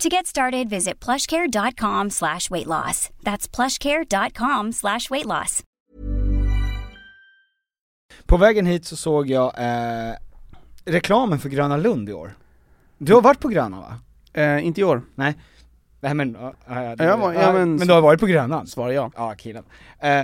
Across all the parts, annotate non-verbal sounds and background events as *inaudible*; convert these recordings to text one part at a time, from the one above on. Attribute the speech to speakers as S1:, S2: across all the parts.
S1: To get started, visit plushcare.com slash weight loss. That's plushcare.com slash weight loss.
S2: På vägen hit så såg jag eh, reklamen för Gröna Lund i år. Du har varit på Gröna va?
S3: Eh, inte i år,
S2: Nej men, ja, ja, det-
S3: Jag var- ja, men-
S2: men du har varit på Gröna?
S3: svarar jag.
S2: Ja, killen. Eh,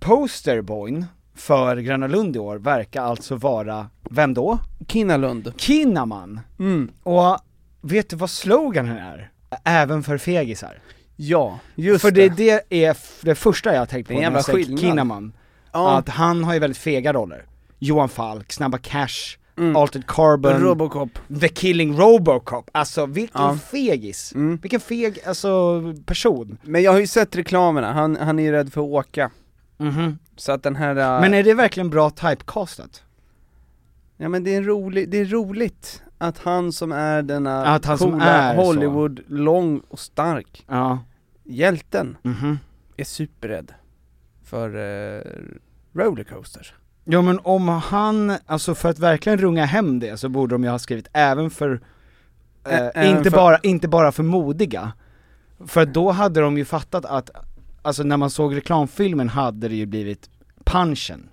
S2: posterboyn för Gröna Lund i år verkar alltså vara, vem då?
S3: Kinnalund.
S2: Kinnaman!
S3: Mm.
S2: Och vet du vad sloganen är? Även för fegisar.
S3: Ja, just
S2: för
S3: det.
S2: det, det är f- det första jag tänkte
S3: Det är
S2: på
S3: en
S2: när
S3: jävla
S2: jag säger
S3: skillnad.
S2: Kinnaman.
S3: Ja.
S2: Att han har ju väldigt fega roller. Johan Falk, Snabba Cash, Altered Carbon,
S3: Mm. Robocop.
S2: The Killing Robocop. Alltså vilken
S3: Ja. Mm.
S2: fegis! Vilken feg, alltså person.
S3: Men jag har ju sett reklamerna, han, han är ju rädd för att åka. Så att den här... äh,
S2: Men är det verkligen bra typecastat?
S3: Ja men det är, en rolig, det är roligt att han som är denna
S2: Att han som
S3: coola
S2: är så.
S3: Hollywood, lång och stark,
S2: Ja.
S3: hjälten,
S2: Mhm.
S3: är superrädd för eh, rollercoasters.
S2: Ja men om han, alltså för att verkligen runga hem det så borde de ju ha skrivit även för, eh,
S3: Ä- även
S2: inte,
S3: för-
S2: Bara, inte bara för modiga. För att då hade de ju fattat att, alltså när man såg reklamfilmen hade det ju blivit punchen.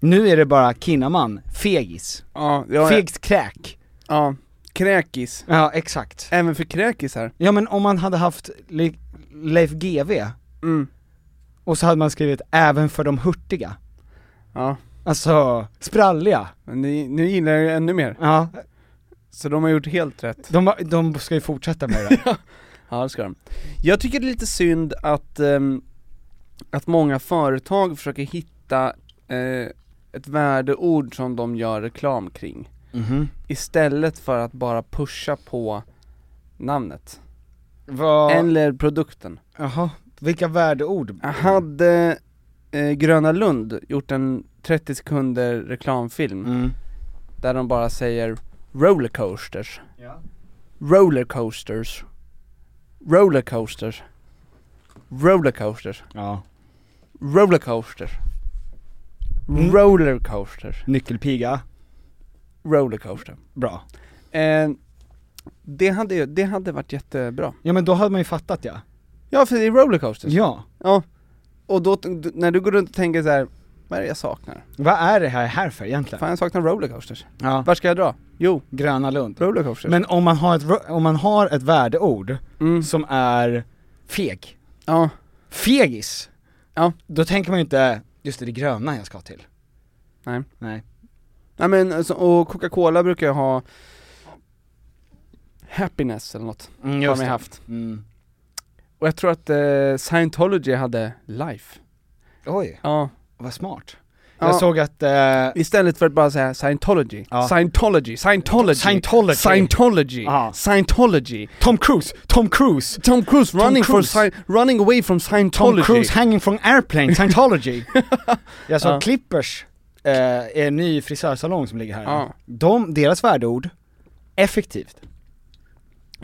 S2: Nu är det bara kinnaman, fegis,
S3: Ja, ja,
S2: fegskräk.
S3: ja, kräkis.
S2: Ja exakt.
S3: Även för kräkisar.
S2: Ja men om man hade haft Le- Leif GV
S3: Mm.
S2: och så hade man skrivit även för de hurtiga.
S3: Ja,
S2: Alltså, spralliga.
S3: men nu, nu gillar jag det ännu mer.
S2: Ja,
S3: Så de har gjort helt rätt.
S2: De, de ska ju fortsätta med *laughs* det där.
S3: Ja det ska de. Jag tycker det är lite synd att, ehm, att många företag försöker hitta eh, ett värdeord som de gör reklam kring.
S2: Mhm.
S3: Istället för att bara pusha på namnet.
S2: Vad,
S3: Eller produkten.
S2: jaha, vilka värdeord?
S3: Hade eh, Gröna Lund gjort en 30 sekunder reklamfilm
S2: Mm.
S3: där de bara säger rollercoasters, rollercoasters, rollercoasters, rollercoasters.
S2: Ja.
S3: Rollercoaster.
S2: Mm.
S3: Rollercoaster.
S2: Nyckelpiga,
S3: Rollercoaster.
S2: bra.
S3: Eh, det, hade, ju- det hade varit jättebra.
S2: Ja men då hade man ju fattat ja.
S3: Ja, för det är rollercoasters.
S2: Ja.
S3: Ja. Och då, t- d- när du går runt och tänker så här, vad är det jag saknar?
S2: Vad är det här, här för egentligen?
S3: Fan, jag saknar rollercoasters.
S2: Ja.
S3: Vart ska jag dra? Jo,
S2: Gröna Lund.
S3: rollercoasters.
S2: Men om man har ett, ro- om man har ett värdeord
S3: Mm.
S2: som är feg,
S3: Ja.
S2: fegis,
S3: Ja.
S2: då tänker man ju inte, just det, det gröna jag ska till.
S3: Nej.
S2: Nej.
S3: Nej men, alltså, och Coca-Cola brukar jag ha Happiness eller något,
S2: Mm,
S3: har de ju haft.
S2: Mm.
S3: Och jag tror att eh, Scientology hade Life.
S2: Oj,
S3: Ja.
S2: vad smart.
S3: ja.
S2: Jag såg att, eh,
S3: Istället för att bara säga scientology,
S2: Ja.
S3: scientology, scientology,
S2: Scientology.
S3: scientology,
S2: Ja.
S3: scientology.
S2: Tom Cruise, Tom Cruise!
S3: Tom Cruise running
S2: Cruise.
S3: for sci- running away from
S2: Tom
S3: scientology.
S2: Cruise hanging from airplane,
S3: *laughs*
S2: Scientology. jag sa
S3: Ja.
S2: Clippers, eh, är en ny frisörsalong som ligger här.
S3: Ja.
S2: De, deras värdeord, effektivt.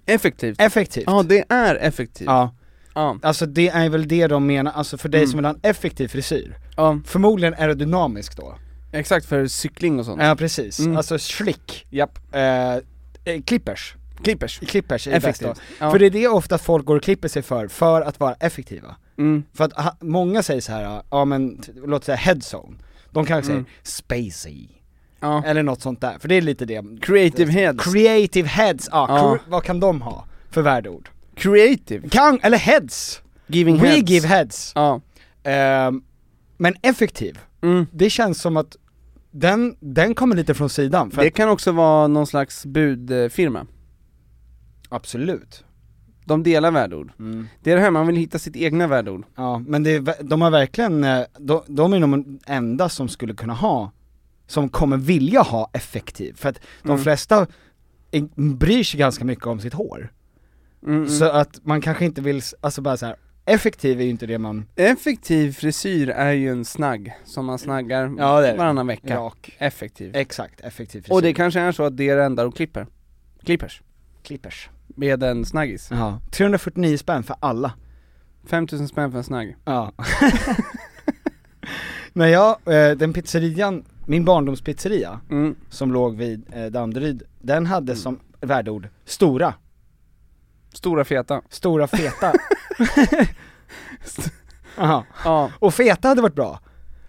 S3: effektivt.
S2: Effektivt.
S3: Ja, det är effektivt.
S2: Ja.
S3: Ja,
S2: Alltså det är väl det de menar, alltså för dig
S3: Mm.
S2: som vill ha en effektiv frisyr.
S3: ja,
S2: Förmodligen aerodynamisk då.
S3: Mm. exakt för cykling och sånt.
S2: Ja precis,
S3: Mm.
S2: alltså slick.
S3: Japp.
S2: Eh, eh, clippers.
S3: Clippers.
S2: Clippers är bäst då.
S3: Effektivt. Ja.
S2: För det är det ofta folk går och klipper sig för, för att vara effektiva.
S3: Mm.
S2: För att ha, många säger så här, ja men t- låt säga headzone. De kanske
S3: Mm.
S2: säger spacey,
S3: Ja.
S2: eller något sånt där, för det är lite det.
S3: Creative heads.
S2: Creative heads, ja,
S3: Ja.
S2: cr- vad kan de ha för värdeord?
S3: Creative.
S2: Kan, eller heads!
S3: Giving
S2: We
S3: heads.
S2: give heads.
S3: Ja.
S2: Ehm, men effektiv,
S3: Mm.
S2: det känns som att den, den kommer lite från sidan, för
S3: Det
S2: att,
S3: kan också vara någon slags budfirma.
S2: absolut.
S3: De delar värdeord.
S2: Mm.
S3: Det är det här, man vill hitta sitt egna värdeord.
S2: Ja, men det, är ver- de har verkligen, eh, de, de är nog de enda som skulle kunna ha, som kommer vilja ha effektiv, för att de
S3: Mm.
S2: flesta är, bryr sig ganska mycket om sitt hår.
S3: Mm, mm.
S2: Så att man kanske inte vill, s- alltså bara så här. effektiv är ju inte det man,
S3: Effektiv frisyr är ju en snagg, som man snaggar
S2: Ja, det är det.
S3: varannan vecka.
S2: rak,
S3: Effektiv.
S2: exakt, effektiv frisyr.
S3: Och det kanske är så att det är det enda de klipper. Clippers.
S2: Clippers.
S3: Med en snaggis.
S2: Ja, 349 spänn för alla.
S3: 5000 spänn för en snagg.
S2: Ja. *laughs* Men jag, eh, den pizzerian, min barndomspizzeria,
S3: Mm.
S2: som låg vid eh, Danderyd, den hade som värdeord, stora.
S3: Stora feta.
S2: Stora
S3: *laughs*
S2: feta. Aha.
S3: Ja.
S2: Och feta hade varit bra.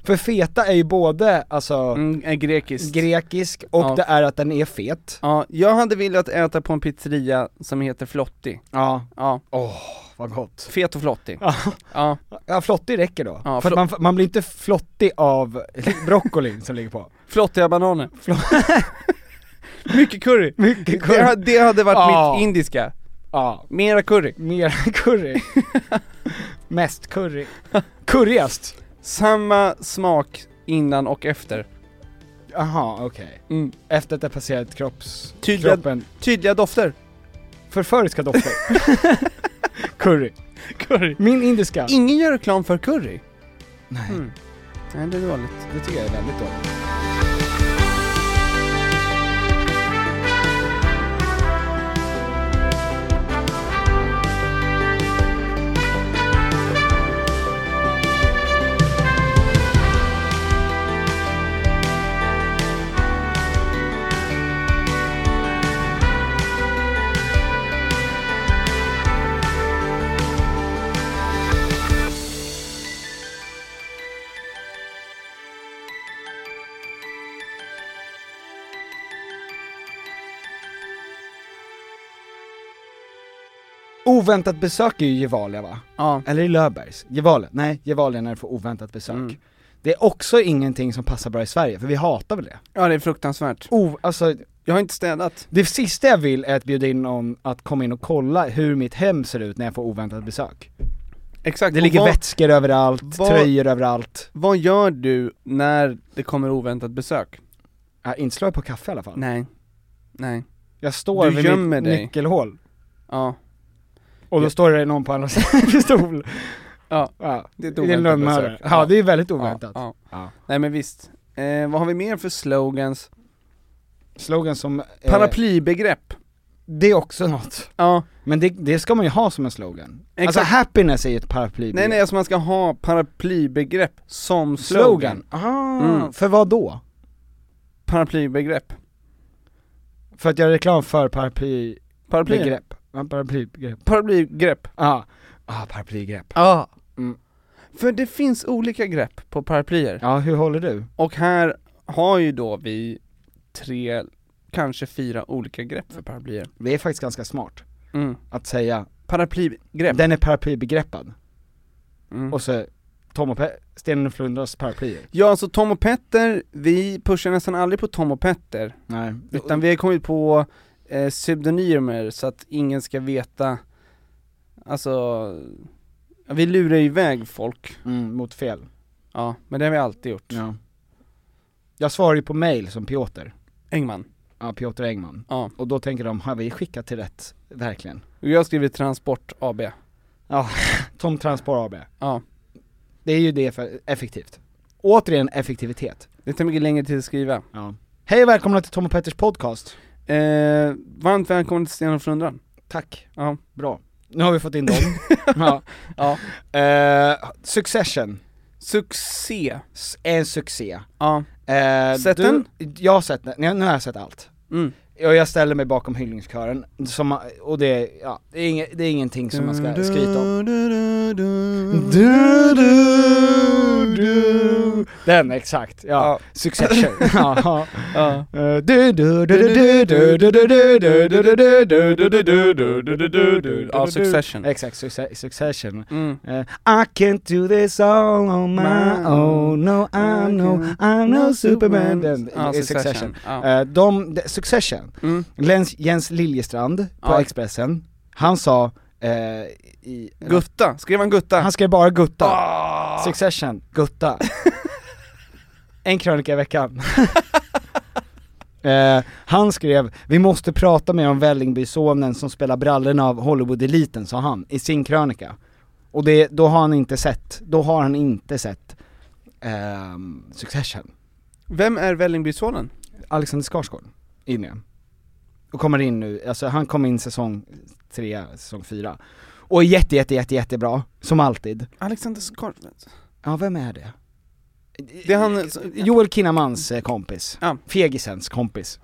S2: För feta är ju både alltså
S3: Mm, är grekiskt.
S2: grekisk och
S3: Ja.
S2: det är att den är fet.
S3: ja, jag hade velat äta på en pizzeria som heter Flotti.
S2: Ja.
S3: Ja,
S2: Åh, vad gott.
S3: fet och flottig.
S2: Ja.
S3: Ja,
S2: Ja, flottig räcker då.
S3: Ja,
S2: För
S3: flo-
S2: att man, man blir inte flottig av *laughs* broccolin som ligger på.
S3: flottiga bananer. *laughs* Mycket curry.
S2: Mycket
S3: Det,
S2: curry.
S3: ha- det hade varit
S2: Ja.
S3: mitt indiska.
S2: Ja,
S3: Mera curry.
S2: mer *laughs* curry. Mest curry. Currigast.
S3: Samma smak innan och efter.
S2: Jaha, okej.
S3: Mm.
S2: Efter att det passerat kropps...
S3: Tydliga,
S2: kroppen.
S3: tydliga dofter.
S2: Förföriska
S3: *laughs*
S2: dofter. curry.
S3: Curry.
S2: Min indiska.
S3: Ingen gör reklam för curry.
S2: Nej,
S3: Mm. Nej, det är dåligt.
S2: det tycker jag är väldigt dåligt. Oväntat besök är ju Gevalia va?
S3: Ja.
S2: Eller i Löfbergs? Gevalia? Nej, Gevalia när du får oväntat besök.
S3: Mm.
S2: Det är också ingenting som passar bra i Sverige, för vi hatar väl det?
S3: ja, det är fruktansvärt.
S2: O- alltså,
S3: Jag har inte städat.
S2: det sista jag vill är att bjuda in någon att komma in och kolla hur mitt hem ser ut när jag får oväntat besök.
S3: Exakt.
S2: Det
S3: och
S2: ligger
S3: vad,
S2: vätskor överallt,
S3: vad-
S2: tröjor överallt.
S3: vad gör du när det kommer oväntat besök?
S2: Ja, inte slår jag på kaffe i alla fall.
S3: Nej. Nej.
S2: Jag står
S3: Du
S2: vid
S3: gömmer
S2: mitt
S3: dig.
S2: nyckelhål,
S3: Ja.
S2: och då
S3: Ja.
S2: står det någon på andra *laughs* sidan stol.
S3: Ja.
S2: Ja,
S3: Det är ett
S2: en
S3: oväntat
S2: lönnmördare.
S3: besök.
S2: Ja, det är väldigt oväntat.
S3: Ja, ja.
S2: Ja.
S3: Nej men visst. Eh, vad har vi mer för slogans?
S2: Slogan som... eh,
S3: Paraplybegrepp.
S2: Det är också något.
S3: Ja.
S2: Men det, det ska man ju ha som en slogan.
S3: Exakt.
S2: Alltså happiness är ju ett paraply.
S3: Nej nej, alltså man ska ha paraplybegrepp som slogan.
S2: slogan. Ah,
S3: Mm.
S2: För vad då?
S3: Paraplybegrepp.
S2: För att göra reklam för paraplybegrepp.
S3: Paraply.
S2: Ja, paraplybegrepp.
S3: Paraplygrepp.
S2: Ja, ah, paraplygrepp.
S3: Ja.
S2: Mm.
S3: För det finns olika grepp på paraplyer.
S2: Ja, hur håller du?
S3: Och här har ju då vi tre, kanske fyra olika grepp för paraplyer.
S2: Det är faktiskt ganska smart
S3: Mm.
S2: att säga,
S3: Paraplybegrepp.
S2: den är paraplybegreppad.
S3: Mm.
S2: Och så Tom och Pe- Stenen och Flundras paraplyer.
S3: Ja, alltså Tom och Petter, vi pushar nästan aldrig på Tom och Petter,
S2: Nej.
S3: utan vi har kommit på eh, pseudonymer så att ingen ska veta, alltså, ja, vi lurar iväg folk.
S2: Mm, mot fel.
S3: Ja, men det har vi alltid gjort.
S2: Ja. Jag svarar ju på mail som Piotr,
S3: Engman.
S2: ja Piotr Engman.
S3: Ja.
S2: Och då tänker de, har vi skickat till rätt, verkligen?
S3: Och jag skriver Transport AB.
S2: Ja, Tom Transport AB.
S3: Ja.
S2: Det är ju det för effektivt. Återigen effektivitet.
S3: Det tar mycket längre till att skriva.
S2: Ja. Hej och välkomna till Tom och Petters podcast.
S3: Eh, varmt välkommen till Sten och Flundran.
S2: Tack.
S3: Ja.
S2: Bra. nu har vi fått in
S3: *laughs*
S2: dem. ja.
S3: Ja.
S2: Eh, Succession,
S3: Succé.
S2: S- är en succé.
S3: Ja.
S2: Eh,
S3: Sett
S2: du-
S3: den?
S2: Jag har sett den, nu har jag sett allt.
S3: Mm.
S2: Och jag ställer mig bakom hyllningskören, som, och det, ja, det, är inget, det är ingenting som man ska skryta om. Den, exakt, ja.
S3: Ja.
S2: Succession.
S3: *laughs*
S2: ja.
S3: Ja.
S2: Eh, du, du, du, du, du, du, du, du, du, du, du, du, du, du, du, du, du, du, du, du, du.
S3: Ja, Succession.
S2: Exakt, succe- Succession.
S3: Mm.
S2: Eh, I can't do this all on my own, no I'm no, I'm no superman. Den,
S3: Ja,
S2: i Succession.
S3: Ja.
S2: Eh, De, de- Succession,
S3: Mm.
S2: Jens, Jens Liljestrand på
S3: Ja.
S2: Expressen, han sa eh, i,
S3: Gutta, skrev han Gutta?
S2: han skrev bara gutta.
S3: Ah!
S2: Succession, gutta. en krönika i veckan. *laughs* Eh, han skrev, vi måste prata mer om Vällingbysonen som spelar brallorna av Hollywood-eliten, sa han, i sin krönika. Och det, då har han inte sett, då har han inte sett ehm, Succession.
S3: Vem är Vällingbysonen?
S2: Alexander Skarsgård, in igen. Och kommer in nu, alltså han kom in säsong tre, säsong fyra. Och är jätte, jätte, jätte, jättebra, som alltid.
S3: Alexander Skarsgård.
S2: Ja, vem är det? Eh,
S3: Det är han-
S2: Joel Kinnamans eh, kompis.
S3: Ja.
S2: Fegisens kompis.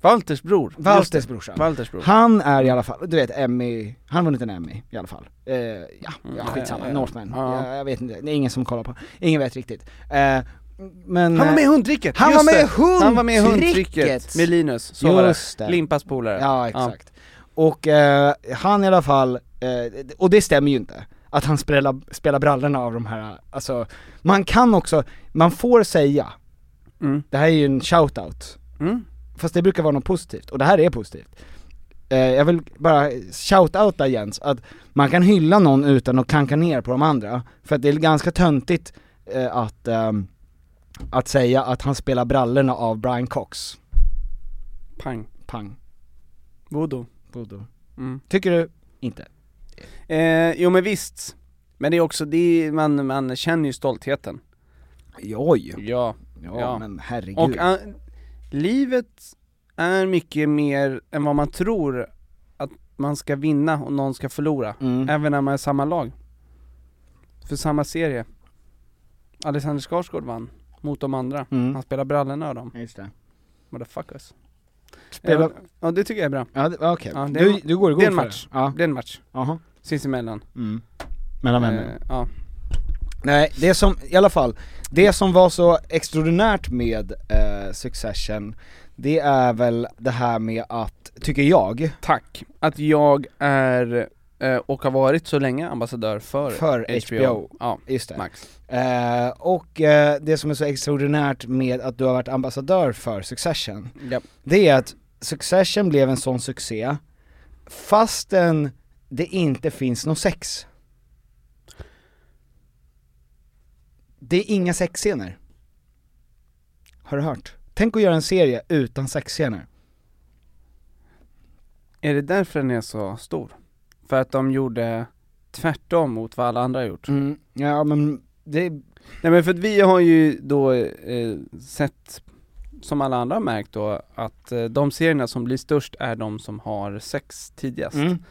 S3: Walters bror.
S2: Walters brorsa.
S3: Walters bror.
S2: Han är i alla fall, du vet Emmy, han har vunnit en Emmy i alla fall. Eh, ja, ja,
S3: Mm,
S2: skitsamma,
S3: ja, ja, ja.
S2: Northman.
S3: Ja.
S2: Ja, jag vet inte, det är ingen som kollar på, ingen vet riktigt. Eh, men...
S3: Han var med i
S2: eh,
S3: Hundtricket!
S2: Han
S3: just
S2: var med
S3: det.
S2: i Hundtricket!
S3: Han var med i Hundtricket! Med Linus, så var det.
S2: Just det.
S3: Limpas polare.
S2: Ja, exakt. Och eh, han i alla fall, eh, och det stämmer ju inte, att han spelar, spelar brallorna av de här, alltså, man kan också, man får säga,
S3: Mm.
S2: det här är ju en shout-out,
S3: Mm.
S2: fast det brukar vara något positivt, och det här är positivt. Eh, jag vill bara shout-outa Jens, att man kan hylla någon utan att klanka ner på de andra, för att det är ganska töntigt eh, att, ehm, att säga att han spelar brallorna av Brian Cox.
S3: Pang.
S2: Pang,
S3: Voodoo.
S2: Bodo.
S3: Mm.
S2: Tycker du? Inte.
S3: Eh, jo men visst. Men det är också, det är, man, man känner ju stoltheten.
S2: Oj!
S3: Ja.
S2: Ja,
S3: Ja.
S2: men herregud.
S3: Och eh, an- livet är mycket mer än vad man tror att man ska vinna och någon ska förlora.
S2: mm.
S3: Även när man är samma lag. För samma serie. Alexander Skarsgård vann mot de andra.
S2: Mm.
S3: Han spelar brallorna av dem.
S2: Just det.
S3: Motherfuckers.
S2: Spela...
S3: Ja, ja det tycker jag är bra.
S2: Ja, det- ja, okej.
S3: Ja, det är
S2: du,
S3: en-
S2: du går igång
S3: det är en
S2: för
S3: match.
S2: det? Ja.
S3: Det är en match.
S2: Aha.
S3: Sinsemellan.
S2: Mm. Mellan vänner.
S3: Eh, ja.
S2: Nej, det som, i alla fall, det som var så extraordinärt med eh, Succession, det är väl det här med att, tycker jag,
S3: Tack. Att jag är eh, och har varit så länge ambassadör för,
S2: för HBO,
S3: Ja,
S2: just det.
S3: Max.
S2: Eh, och eh, det som är så extraordinärt med att du har varit ambassadör för Succession,
S3: Japp.
S2: det är att Succession blev en sån succé, fastän det inte finns någon sex. Det är inga sexscener. Har du hört? Tänk att göra en serie utan sexscener.
S3: Är det därför den är så stor? För att de gjorde tvärtom mot vad alla andra har gjort?
S2: Mm. Ja men, det,
S3: Nej men för att vi har ju då eh, sett, som alla andra har märkt då, att eh, de serierna som blir störst är de som har sex tidigast.
S2: mm.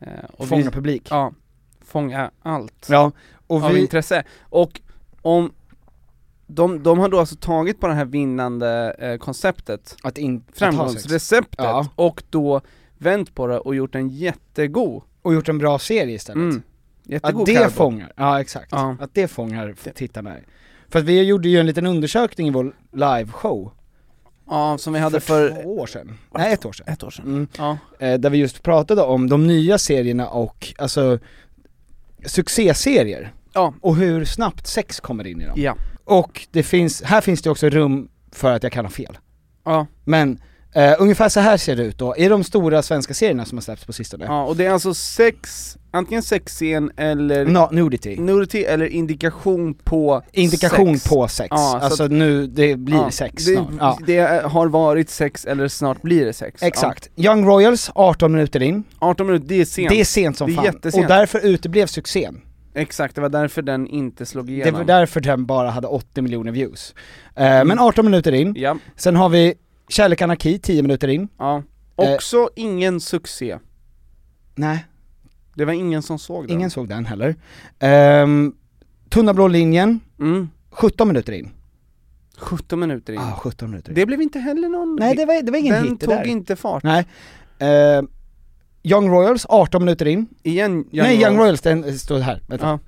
S3: Eh, och
S2: fånga
S3: vi,
S2: publik.
S3: Ja, fånga allt
S2: Ja, och
S3: av
S2: vi,
S3: intresse. Och om, de, de har då alltså tagit på det här vinnande eh, konceptet,
S2: att inte ta sex.
S3: framgångsreceptet,
S2: Ja.
S3: och då vänt på det och gjort en jättegod,
S2: Och gjort en bra serie istället.
S3: mm, jättegod
S2: Att det
S3: karbo.
S2: fångar, ja exakt.
S3: Ja.
S2: Att det fångar f- tittarna. För att vi gjorde ju en liten undersökning i vår liveshow
S3: Ja, som vi hade för
S2: två år sedan. Nej ett år sedan.
S3: ett år sedan.
S2: Mm.
S3: Ja.
S2: Eh, där vi just pratade om de nya serierna och, alltså, succéserier.
S3: Ja.
S2: Och hur snabbt sex kommer in i dem.
S3: Ja.
S2: Och det finns, här finns det också rum för att jag kan ha fel.
S3: Ja.
S2: Men, eh, ungefär så här ser det ut då, i de stora svenska serierna som har släppts på sistone.
S3: Ja, och det är alltså sex, antingen sexscen eller
S2: Na- nudity.
S3: nudity eller indikation på
S2: Indikation
S3: sex.
S2: på sex.
S3: Ja, så att-
S2: alltså nu, det blir sex
S3: det,
S2: snart. Ja.
S3: det har varit sex eller snart blir det sex.
S2: Exakt. Young Royals, 18 minuter in.
S3: Ja. 18 minuter, det är sent.
S2: Det är sent som
S3: Det är
S2: fan.
S3: jättesent.
S2: Och därför uteblev succén.
S3: Exakt, det var därför den inte slog
S2: Det
S3: igenom.
S2: var därför den bara hade 80 miljoner views. Eh, Men 18 minuter in.
S3: Mm. Ja,
S2: Sen har vi Kärlek Anarki, 10 minuter in.
S3: ja.
S2: Eh.
S3: Också ingen succé.
S2: Nej.
S3: Det var ingen som såg den.
S2: Ingen såg den heller. Ehm, tunna blå linjen,
S3: Mm.
S2: 17 minuter in.
S3: 17 minuter in.
S2: Ja, 17 minuter in.
S3: Det blev inte heller någon
S2: Ah. Nej det var, det var ingen
S3: Den
S2: hit det
S3: tog
S2: där.
S3: inte fart.
S2: Nej. Ehm, Young Royals, 18 minuter in.
S3: Igen,
S2: Nej, Young
S3: Royals.
S2: Royals, den eh, står här. Vänta.
S3: Ja.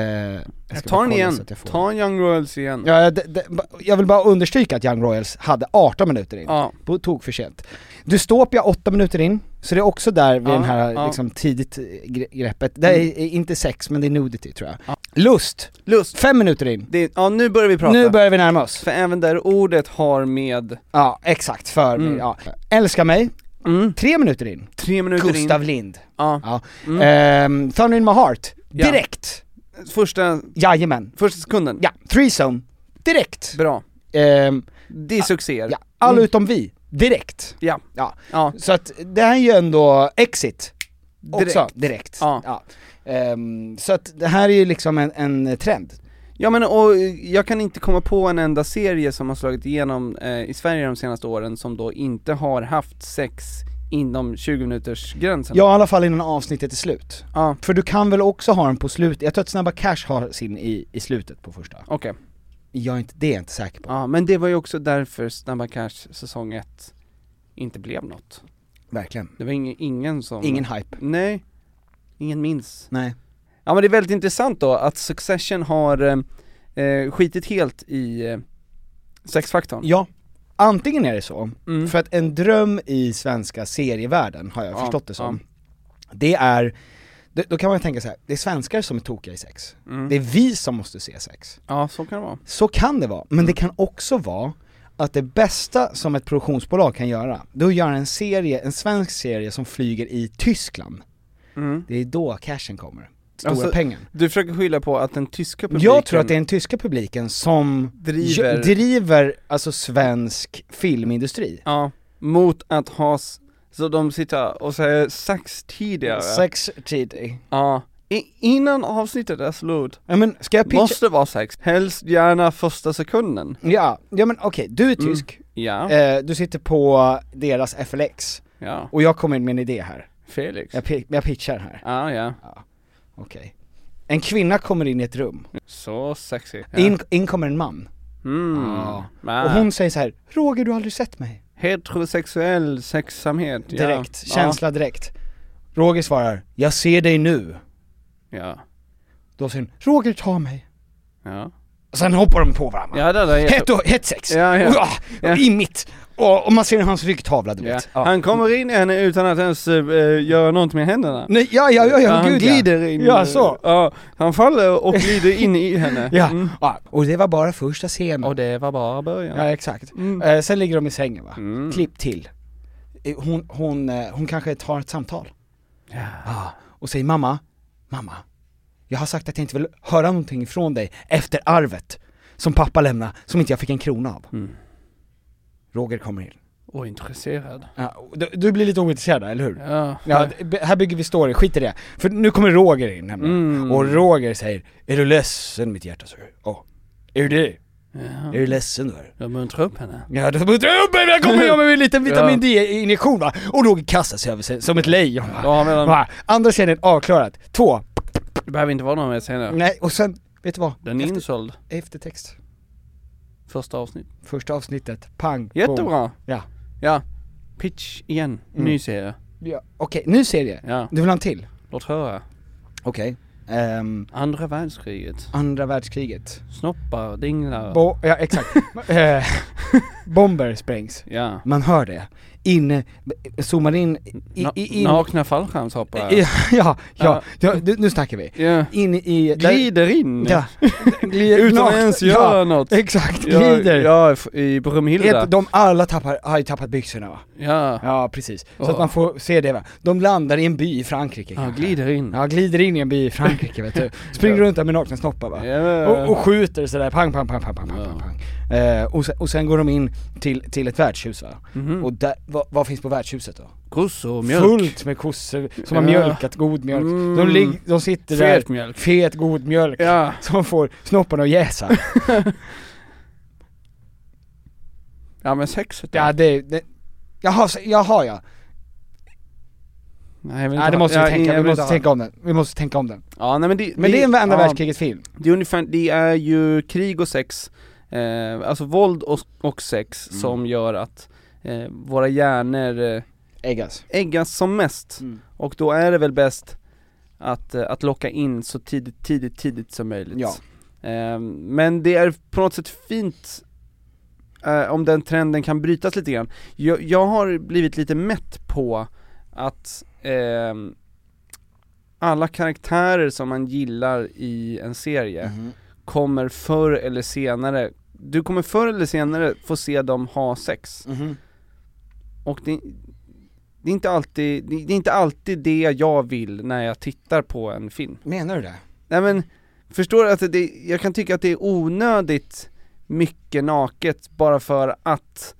S2: Eh, jag ska
S3: Jag tar
S2: bara
S3: den
S2: kolla
S3: igen,
S2: så att jag får-
S3: ta en Young Royals igen. Ja.
S2: Ja, det, det, ba- jag vill bara understryka att Young Royals hade 18 minuter in. På tok för sent. Dystopia 8 minuter in, så det är också där vid
S3: Ja,
S2: den här
S3: ja. Mm.
S2: liksom tidigt eh, gre- greppet. Det är är inte sex, men det är nudity tror jag. Lust,
S3: Lust.
S2: 5 minuter in.
S3: Det är, ja, nu börjar vi prata.
S2: Nu börjar vi närma oss.
S3: För även där ordet har med...
S2: Ja, exakt, för
S3: Mm.
S2: ja. Älska mig,
S3: Mm.
S2: 3 minuter in.
S3: Tre minuter
S2: Gustav
S3: in.
S2: Lind.
S3: Ja.
S2: Ja.
S3: Mm.
S2: Ehm, Thunder in my heart,
S3: Ja.
S2: direkt.
S3: Första,
S2: Jajamän.
S3: första sekunden.
S2: Ja, threesome, direkt.
S3: Bra.
S2: Ehm,
S3: Det är succéer.
S2: ja. Alla
S3: Mm.
S2: utom vi, direkt.
S3: Ja.
S2: Ja.
S3: Ja.
S2: Så att det här är ju ändå exit också,
S3: Direkt.
S2: direkt.
S3: Ja.
S2: Ehm, så att det här är ju liksom en, en trend.
S3: Ja men och jag kan inte komma på en enda serie som har slagit igenom eh, i Sverige de senaste åren som då inte har haft sex inom 20 minuters gränsen.
S2: Ja i alla fall innan avsnittet är slut.
S3: Ja,
S2: För du kan väl också ha den på slutet, jag tror att Snabba Cash har sin i, i slutet på första.
S3: okej.
S2: Jag är inte, det är jag inte säker på.
S3: Ja, men det var ju också därför Snabba Cash säsong 1 inte blev något.
S2: Verkligen.
S3: Det var ingen, ingen som...
S2: Ingen hype.
S3: Nej, ingen minns.
S2: Nej.
S3: Ja men det är väldigt intressant då att Succession har eh, eh, skitit helt i eh, sexfaktorn.
S2: Ja. Antingen är det så,
S3: Mm.
S2: för att en dröm i svenska serievärlden, har jag
S3: Ja,
S2: förstått det som, det är, det, då kan man ju tänka så här, det är svenskar som är tokiga i sex.
S3: Mm.
S2: Det är vi som måste se sex.
S3: Ja, så kan det vara.
S2: Så kan det vara, men det
S3: Mm.
S2: kan också vara att det bästa som ett produktionsbolag kan göra, det är att göra en serie, en svensk serie som flyger i Tyskland.
S3: Mm.
S2: Det är då cashen kommer. Stora
S3: Alltså,
S2: pengen.
S3: Du försöker skylla på att den tyska publiken
S2: Jag tror att det är den tyska publiken som
S3: driver...
S2: ju- driver alltså svensk filmindustri.
S3: Ja, mot att ha, s- så de sitter och säger sex tidigare.
S2: Sex tidig.
S3: Ja, I, innan avsnittet är slut.
S2: Ja men ska jag pitcha?
S3: Måste vara sex, helst gärna första sekunden.
S2: Ja, ja men okej, du är
S3: Mm.
S2: tysk,
S3: Ja,
S2: eh, du sitter på deras FLX,
S3: ja,
S2: och jag kommer in med en idé här.
S3: Felix.
S2: Jag, pi- jag pitchar här,
S3: Ja, ja,
S2: okej. En kvinna kommer in i ett rum,
S3: så sexy. Ja.
S2: In, in kommer en man,
S3: Mm.
S2: Ja.
S3: Ja.
S2: och hon säger så här: 'Roger du har aldrig sett mig'
S3: Heterosexuell sexsamhet, ja.
S2: direkt, känsla direkt Roger svarar 'Jag ser dig nu'
S3: Ja,
S2: Då säger hon 'Roger ta mig'
S3: ja.
S2: och Sen hoppar de på varandra,
S3: Ja, ja det där är
S2: hett och hett sex,
S3: Ja, ja.
S2: Och, ah,
S3: Ja.
S2: i mitt, och, och man ser hans ryggtavla du
S3: ja.
S2: vet Ja.
S3: Han kommer in i henne utan att ens uh, göra något med händerna.
S2: Nej, ja, ja, ja, ja,
S3: han
S2: gud
S3: glider
S2: ja.
S3: in. eh,
S2: Ja, så.
S3: Ja, han
S2: *laughs*
S3: faller och glider in i henne.
S2: Ja,
S3: Mm.
S2: ja, och det var bara första scenen.
S3: Och det var bara början.
S2: Ja exakt.
S3: Mm.
S2: Eh, sen ligger de i sängen va?
S3: Mm.
S2: Klipp till. Eh, Hon, hon, eh, hon kanske tar ett samtal. Ah, och säger mamma, mamma. Jag har sagt att jag inte vill höra någonting ifrån dig efter arvet som pappa lämnade, som inte jag fick en krona av.
S3: Mm.
S2: Roger kommer in.
S3: Och intresserad.
S2: Ja, och du, du blir lite ointresserad eller hur?
S3: Ja.
S2: Ja, d- här bygger vi story, skit i det. För nu kommer Roger in nämligen.
S3: Mm.
S2: Och Roger säger, är du ledsen mitt hjärta? Sir? Ja. Är du det? Är du ledsen då?
S3: Jag muntrar upp henne.
S2: Ja, då muntrar jag kommer jag med en
S3: *laughs*
S2: liten vitamin D-injektion va? Och Roger kastar sig över sig som ett lejon va?
S3: Då har vi den.
S2: va? Andra scenen avklarat, två,
S3: Det behöver inte vara någon mer senare.
S2: nej och sen, vet du vad?
S3: Den är
S2: Efter,
S3: insåld.
S2: eftertext,
S3: Första avsnitt.
S2: första avsnittet, pang, boom.
S3: Jättebra.
S2: Ja. Mm.
S3: Ja. Pitch igen. Ny serie.
S2: ja. Okej, ny serie.
S3: Ja.
S2: Du vill ha en till?
S3: Låt höra.
S2: Okej. Ehm,
S3: Andra världskriget.
S2: andra världskriget.
S3: Snoppar, dinglar.
S2: Bo- ja exakt.
S3: *laughs*
S2: Eh, bomber sprängs.
S3: ja.
S2: Man hör det. Inne, zoomar in, i,
S3: Na-
S2: i, in.
S3: Nakna fallskärmshoppare.
S2: *laughs* ja, ja, ja,
S3: Ja.
S2: ja, du- nu snackar vi.
S3: Ja.
S2: In i...
S3: Glider in.
S2: Ja. Glider
S3: Utan
S2: rakt-
S3: att ens göra
S2: ja,
S3: något.
S2: Exakt,
S3: Ja,
S2: glider.
S3: Ja, f- i Bromhilda.
S2: Helt, de alla tappar, har ju tappat byxorna va?
S3: Ja.
S2: Ja precis, så
S3: Ja.
S2: att man får se det va. De landar i en by i Frankrike
S3: Ja,
S2: kanske.
S3: glider in.
S2: Ja, glider in i en by i Frankrike vet
S3: *laughs*
S2: du. Springer runt där med nakna snoppar va.
S3: Ja.
S2: Och, och skjuter sådär, pang pang pang pang pang pang
S3: Ja.
S2: pang. pang. Eh, och, sen, och sen går de in till, till ett värdshus va.
S3: Mhm.
S2: Och där, vad, vad finns på värdshuset då?
S3: Kossor och mjölk.
S2: Fullt med kossor som har
S3: Ja.
S2: mjölkat god mjölk. De,
S3: Mm.
S2: ligger, de sitter
S3: Fet
S2: där,
S3: mjölk.
S2: fet god mjölk.
S3: Ja.
S2: Som får snopparna att jäsa.
S3: Ja men sexet då.
S2: Ja det, det jaha, så, jaha ja.
S3: Nej, jag vill inte
S2: Nej det
S3: ha-
S2: måste vi
S3: jag- jag
S2: tänka,
S3: vill
S2: vi måste
S3: inte ha-
S2: tänka om den, vi måste tänka om den.
S3: Ja, nej, men det,
S2: Men det är en andra
S3: ja,
S2: världskrigets film.
S3: Det är, ungefär, det är ju krig och sex, eh, alltså våld och, och sex
S2: Mm.
S3: som gör att eh, våra hjärnor eh,
S2: Äggas.
S3: äggas som mest. Och då är det väl bäst att, eh, att locka in så tidigt, tidigt, tidigt som möjligt.
S2: Ja.
S3: Ehm, Men det är på något sätt fint eh, om den trenden kan brytas lite grann. Jag, jag har blivit lite mätt på att ehm, alla karaktärer som man gillar i en serie
S2: Mm.
S3: kommer förr eller senare, du kommer förr eller senare få se dem ha sex. Och det, det, är inte alltid, det, det är inte alltid det jag vill när jag tittar på en film.
S2: Menar du det?
S3: Nej men, förstår du att det, jag kan tycka att det är onödigt mycket naket bara för att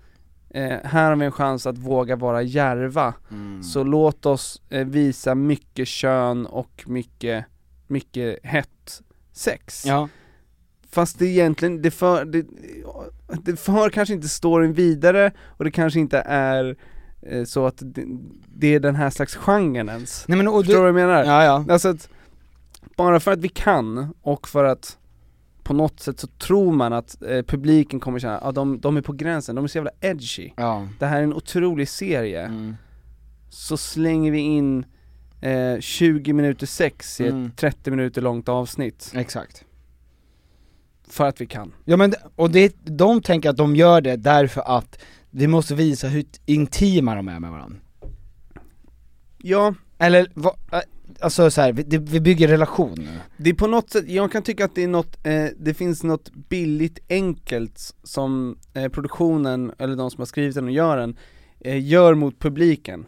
S3: eh, här har vi en chans att våga vara järva.
S2: Mm.
S3: Så låt oss eh, visa mycket kön och mycket, mycket hett sex.
S2: Ja.
S3: Fast det egentligen, det för, det, det för kanske inte storyn vidare och det kanske inte är eh, så att det, det är den här slags genren ens.
S2: Nej men och
S3: Förstår
S2: du,
S3: du vad jag menar?
S2: ja ja.
S3: Alltså att, bara för att vi kan och för att på något sätt så tror man att eh, publiken kommer känna att ah, de, de är på gränsen, de är så jävla edgy.
S2: Ja.
S3: Det här är en otrolig serie.
S2: Mm.
S3: Så slänger vi in eh, 20 minuter sex i ett
S2: Mm.
S3: 30 minuter långt avsnitt.
S2: Exakt.
S3: För att vi kan.
S2: Ja men, och det, de tänker att de gör det därför att vi måste visa hur intima de är med varandra.
S3: Ja,
S2: Eller, va, äh, alltså så här, vi, det, vi bygger relation nu.
S3: Det är på något sätt, jag kan tycka att det är något, eh, det finns något billigt enkelt som eh, produktionen, eller de som har skrivit den och gör den, eh, gör mot publiken.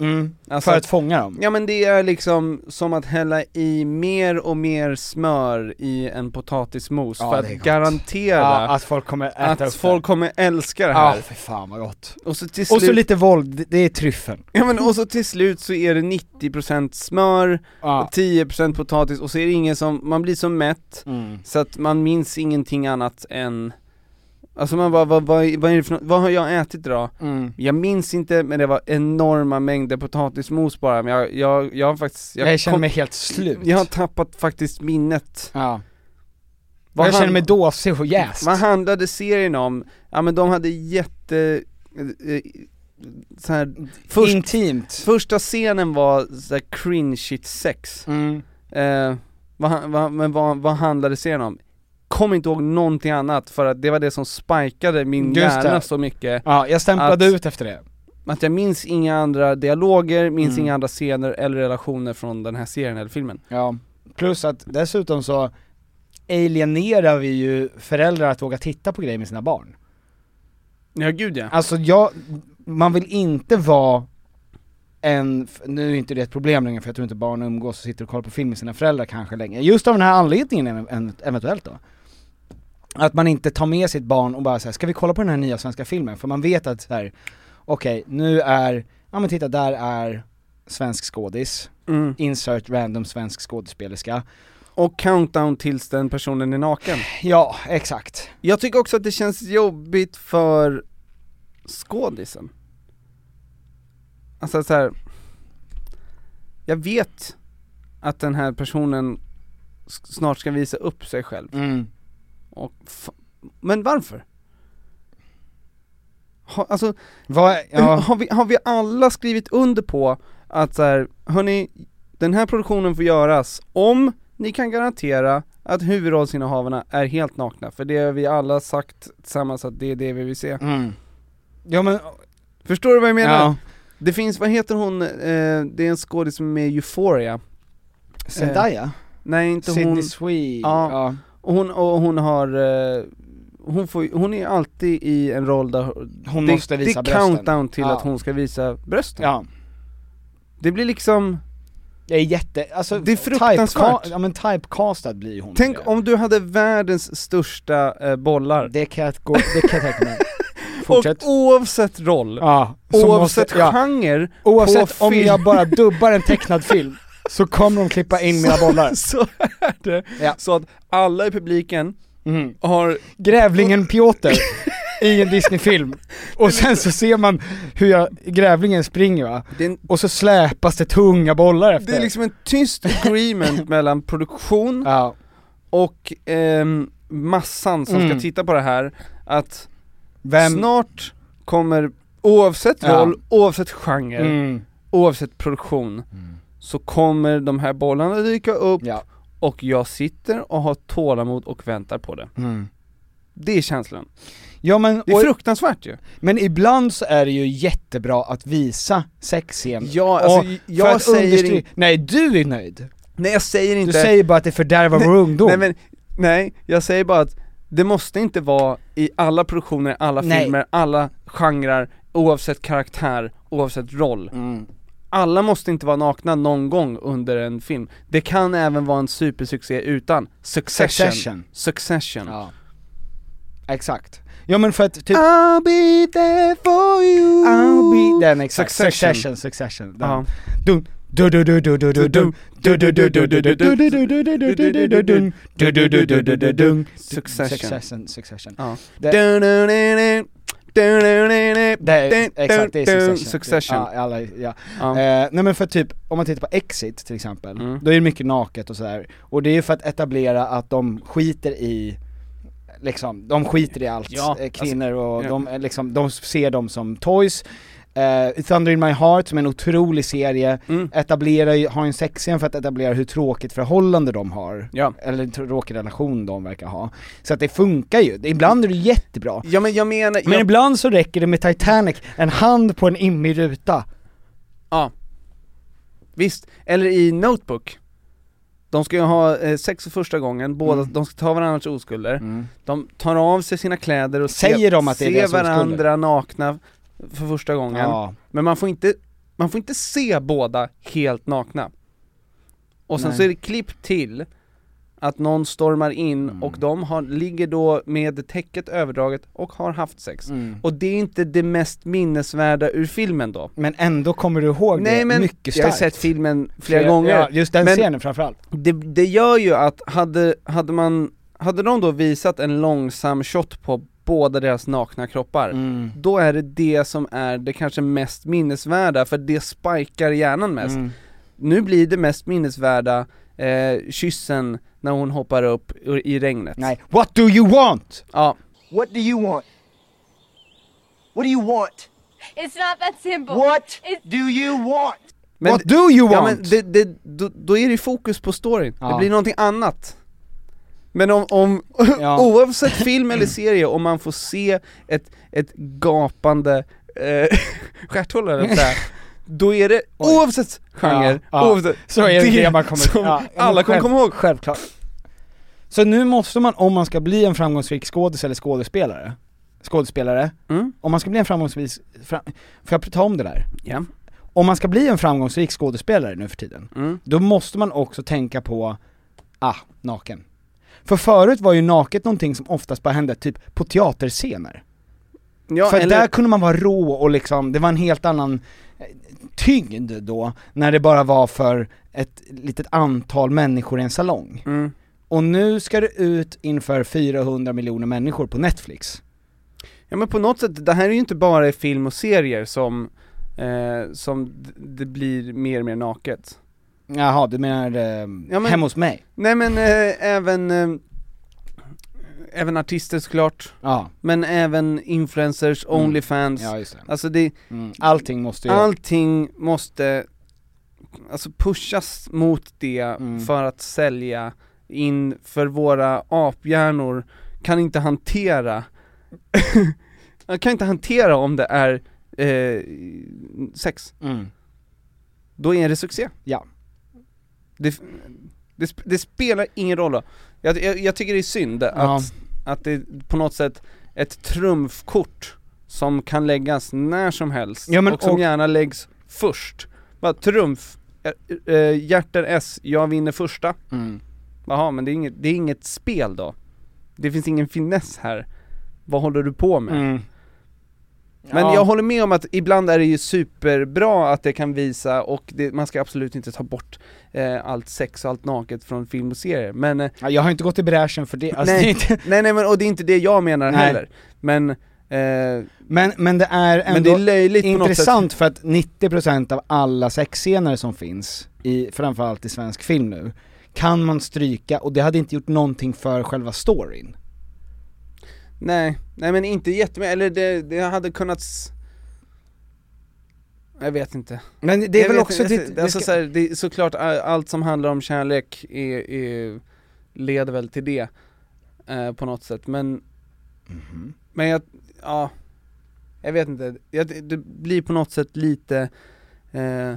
S3: Alltså
S2: För
S3: att-
S2: att fånga dem.
S3: Ja men det är liksom som att hälla i mer och mer smör i en potatismos
S2: Ja,
S3: för
S2: det är
S3: att
S2: gott.
S3: garantera
S2: Ja, att folk kommer äta
S3: att,
S2: upp
S3: folk kommer älska det
S2: det. Ja,
S3: här.
S2: för fan vad gott.
S3: Och, så till
S2: Och så
S3: slut,
S2: lite våld, det- det är tryffeln.
S3: *laughs* ja, men, och så till slut så är det 90% smör,
S2: Ja.
S3: 10% potatis och så är det ingen som, man blir så mätt
S2: Mm.
S3: Så att man minns ingenting annat än Alltså man bara, vad, vad, vad, är det för, nå- vad har jag ätit idag?
S2: Mm.
S3: Jag minns inte, men det var enorma mängder potatismos bara, men jag, jag, jag har faktiskt
S2: Jag, känner
S3: kom-
S2: mig helt slut.
S3: Jag har tappat faktiskt minnet
S2: ja.
S3: Vad
S2: jag
S3: han-
S2: känner mig dåsig och jäst.
S3: Vad handlade serien om? Ja men de hade jätte, eh, eh, så här, först,
S2: Intimt.
S3: första scenen var så här cringe-shit sex
S2: Mm.
S3: Eh, vad, han- vad, men vad, vad handlade serien om? Kom inte ihåg någonting annat för att det var det som spikade min
S2: Just
S3: hjärna
S2: det.
S3: så mycket
S2: Ja, jag stämplade
S3: Att-
S2: ut efter det.
S3: Att jag minns inga andra dialoger, minns
S2: Mm.
S3: inga andra scener eller relationer från den här serien eller filmen
S2: Ja. Plus att dessutom så alienerar vi ju föräldrar att våga titta på grejer med sina barn.
S3: Ja gud ja
S2: Alltså jag, man vill inte vara en, f- nu är inte det ett problem längre för jag tror inte barn umgås och sitter och kollar på film med sina föräldrar kanske längre. Just av den här anledningen ev- en- eventuellt då. Att man inte tar med sitt barn och bara säger ska vi kolla på den här nya svenska filmen? För man vet att så här, okej nu är, ja men titta där är svensk skådis,
S3: mm.
S2: insert random svensk skådespelerska.
S3: Och countdown tills den personen är naken
S2: Ja, exakt.
S3: Jag tycker också att det känns jobbigt för skådisen Alltså så här. jag vet att den här personen s- snart ska visa upp sig själv
S2: Mm.
S3: Och f- men varför? Ha, alltså,
S2: Vad, ja,
S3: *clears throat* har, vi, har vi alla skrivit under på att så här, hörni, den här produktionen får göras om ni kan garantera att huvudrollsinnehavarna är helt nakna, för det har vi alla sagt tillsammans att det är det vi vill se.
S2: mm. Ja men,
S3: Förstår du vad jag menar?
S2: ja.
S3: Det finns, vad heter hon, eh, det är en skådis som är med i Euphoria.
S2: Zendaya?
S3: Nej Eh, inte hon,
S2: Sydney Swede,
S3: Ja.
S2: ja.
S3: och hon, och hon har, eh, hon, får, hon är alltid i en roll där
S2: Hon
S3: det,
S2: måste visa
S3: det är
S2: brösten.
S3: countdown till
S2: Ja.
S3: att hon ska visa brösten.
S2: Ja.
S3: Det blir liksom,
S2: Det är jätte, alltså
S3: Det är fruktansvärt.
S2: typeca- Ja men typecastad blir hon
S3: tänk
S2: det.
S3: om du hade världens största eh, bollar.
S2: Det kan jag gå, det kan jag tänka
S3: *laughs*
S2: mig
S3: Och
S2: Fortsätt
S3: oavsett roll,
S2: Ja, så
S3: oavsett
S2: måste- ja.
S3: genre,
S2: Oavsett
S3: på
S2: om
S3: film.
S2: jag bara dubbar en tecknad film så kommer de klippa in mina
S3: *laughs*
S2: bollar
S3: *laughs* så är det.
S2: Ja.
S3: Så att alla i publiken
S2: mm.
S3: har,
S2: Grävlingen Piotr i en
S3: *laughs*
S2: Disney-film. Och sen så ser man hur jag, grävlingen springer va,
S3: Det är, en,
S2: och så släpas det tunga bollar efter.
S3: det är liksom en tyst *laughs* agreement mellan produktion
S2: Ja,
S3: och ehm, massan som
S2: Mm.
S3: ska titta på det här, att
S2: vem...
S3: snart kommer, oavsett
S2: Ja.
S3: roll, oavsett genre,
S2: mm.
S3: oavsett produktion, så kommer de här bollarna dyka upp
S2: Ja.
S3: och jag sitter och har tålamod och väntar på det.
S2: Mm.
S3: Det är känslan.
S2: Ja men,
S3: Det är
S2: och,
S3: fruktansvärt ju.
S2: men ibland så är det ju jättebra att visa sexscener.
S3: Ja,
S2: alltså, För att understry-
S3: inte,
S2: Nej du är nöjd!
S3: nej jag säger
S2: Du
S3: inte,
S2: säger bara att det fördärvar vår ungdom.
S3: nej men, nej, jag säger bara att det måste inte vara i alla produktioner, alla
S2: Nej.
S3: filmer, alla genrer, oavsett karaktär, oavsett roll.
S2: mm.
S3: Alla måste inte vara nakna någon gång under en film. Det kan även vara en supersuccé utan Succession. Succession.
S2: Succession. Ja. Exakt. Ja men för att typ,
S3: I'll be there for you.
S2: I'll be, den exakt,
S3: Succession.
S2: succession, succession. Den.
S3: Ja.
S2: Dun, du du du du du du dun. Du du du du du du du du du du du du du du du dun. Du du du du du du dun.
S3: Succession.
S2: Succession, succession.
S3: Ja.
S2: Det-
S3: Dun-dun-dun-dun. Dun-dun-dun-dun.
S2: Det är, exakt, det är succession.
S3: Dun-dun-dun. Succession.
S2: Ja, alla, ja.
S3: Ja.
S2: Eh, nej men för typ, om man tittar på Exit till exempel,
S3: Mm.
S2: då är det mycket naket och sådär. Och det är ju för att etablera att de skiter i, liksom, de skiter i allt,
S3: Ja, alltså,
S2: eh, kvinnor och
S3: ja.
S2: de, är liksom, de ser dem som toys. Eh, Thunder in my heart som är en otrolig serie,
S3: Mm.
S2: etablerar ju, har en sexscen för att etablera hur tråkigt förhållande de har.
S3: Ja.
S2: Eller en tråkig relation de verkar ha. Så att det funkar ju, ibland är det jättebra.
S3: ja men jag menar,
S2: Men
S3: jag,
S2: ibland så räcker det med Titanic, en hand på en immig ruta.
S3: ja. Visst, eller i Notebook. De ska ju ha eh, sex för första gången, båda,
S2: Mm.
S3: de ska ta varandras oskulder. De tar av sig sina kläder och ser-
S2: Säger de att det är
S3: ser
S2: deras oskulder?
S3: varandra nakna för första gången.
S2: Ja.
S3: Men man får inte, man får inte se båda helt nakna. Och sen
S2: Nej.
S3: så är det klipp till att någon stormar in
S2: Mm.
S3: och de har, ligger då med täcket överdraget och har haft sex.
S2: Mm.
S3: Och det är inte det mest minnesvärda ur filmen då.
S2: Men ändå kommer du ihåg det
S3: Nej men,
S2: mycket starkt.
S3: jag har sett filmen flera gånger.
S2: Ja, just den
S3: Men-
S2: scenen framförallt.
S3: Det, det gör ju att, hade, hade man, hade de då visat en långsam shot på båda deras nakna kroppar,
S2: Mm.
S3: då är det det som är det kanske mest minnesvärda, för det spikar hjärnan mest.
S2: Mm.
S3: Nu blir det mest minnesvärda eh, kyssen när hon hoppar upp ur- i regnet.
S2: Nej, what do you want?
S3: Ja,
S4: What do you want? What do you want?
S5: It's not that simple.
S4: What
S5: It's-
S4: do you want?
S3: men,
S2: What do you
S3: ja,
S2: want?
S3: men det, det, då, då är det ju fokus på storyn,
S2: Ja.
S3: det blir någonting annat. Men om, om *laughs*
S2: Ja. *laughs*
S3: oavsett film eller serie, om man får se ett, ett gapande eh, *laughs* stjärthål eller
S2: *laughs*
S3: något där, då är det oavsett genre,
S2: Ja, ja.
S3: oavsett,
S2: Så är det det
S3: *laughs*
S2: man kommer-
S3: som
S2: ja, men
S3: alla kommer
S2: själv-
S3: komma ihåg.
S2: Självklart. Så nu måste man, om man ska bli en framgångsrik skådis eller skådespelare, skådespelare,
S3: Mm.
S2: om man ska bli en framgångsrik, fram, får jag ta om det där?
S3: Ja.
S2: Om man ska bli en framgångsrik skådespelare nu för tiden,
S3: Mm.
S2: då måste man också tänka på, ah, naken. För förut var ju naket någonting som oftast bara hände typ på teaterscener.
S3: Ja,
S2: För
S3: eller,
S2: där kunde man vara rå och liksom, det var en helt annan eh, tyngd då, när det bara var för ett litet antal människor i en salong.
S3: mm.
S2: Och nu ska det ut inför 400 miljoner människor på Netflix.
S3: ja men på något sätt, det här är ju inte bara i film och serier som, eh, som d- det blir mer och mer naket.
S2: Jaha, du menar eh,
S3: Ja, men-
S2: hemma hos mig?
S3: Nej men eh, även, eh, även artister såklart,
S2: Ja,
S3: men även influencers,
S2: Mm.
S3: Onlyfans.
S2: ja just det.
S3: Alltså det,
S2: Mm. Allting måste ju...
S3: allting måste alltså pushas mot det
S2: Mm.
S3: för att sälja in, för våra aphjärnor kan inte hantera, *laughs* Jag kan inte hantera om det är eh, sex,
S2: Mm.
S3: då är det succé.
S2: Ja.
S3: Det, det, sp- det spelar ingen roll då. Jag, jag, jag tycker det är synd att, att det är på något sätt ett trumfkort som kan läggas när som helst
S2: Ja, men
S3: och som
S2: och-
S3: gärna läggs först. Bara trumf, eh, eh, hjärter S, jag vinner första.
S2: Mm.
S3: Jaha, men det är, inget, det är inget spel då. Det finns ingen finess här. Vad håller du på med?
S2: Mm.
S3: Men
S2: Ja.
S3: jag håller med om att ibland är det ju superbra att det kan visa och det, man ska absolut inte ta bort eh, allt sex och allt naket från film och serier. Men, eh,
S2: Ja, jag har inte gått i bräschen för det, alltså, det är
S3: nej,
S2: inte...
S3: nej nej men och det är inte det jag menar
S2: Nej.
S3: heller. Men Eh,
S2: Men, men det är ändå
S3: men det är löjligt på något sätt.
S2: intressant för att 90% av alla sexscener som finns, i, framförallt i svensk film nu, kan man stryka och det hade inte gjort någonting för själva storyn.
S3: Nej, nej men inte jättemycket, eller det, det hade kunnat s- jag vet inte.
S2: Men det är
S3: jag
S2: väl
S3: vet
S2: också
S3: inte,
S2: ditt,
S3: alltså,
S2: det
S3: så
S2: ska,
S3: här, det är såklart all- allt som handlar om kärlek är, är, leder väl till det eh, på något sätt men
S2: Mhm.
S3: Men jag, ja, jag vet inte, jag, det blir på något sätt lite, eh,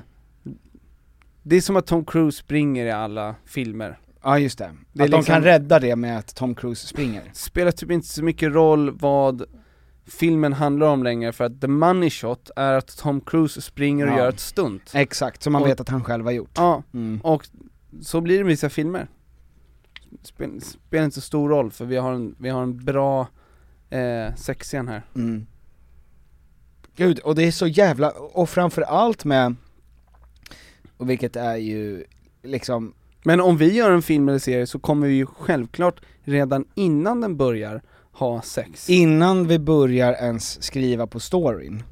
S3: det är som att Tom Cruise springer i alla filmer.
S2: ja just det.
S3: Det är
S2: att de
S3: liksom-
S2: kan rädda det med att Tom Cruise springer.
S3: Spelar typ inte så mycket roll vad filmen handlar om längre för att the money shot är att Tom Cruise springer och
S2: Ja.
S3: gör ett stunt.
S2: Exakt, som man
S3: Och-
S2: vet att han själv har gjort.
S3: Ja,
S2: Mm.
S3: och så blir det med vissa filmer. Spel, spelar inte så stor roll för vi har en, vi har en bra eh, sexscen här.
S2: Mm. Gud, och det är så jävla, och framförallt med, och vilket är ju liksom
S3: Men om vi gör en film eller serie så kommer vi ju självklart redan innan den börjar ha sex.
S2: Innan vi börjar ens skriva på storyn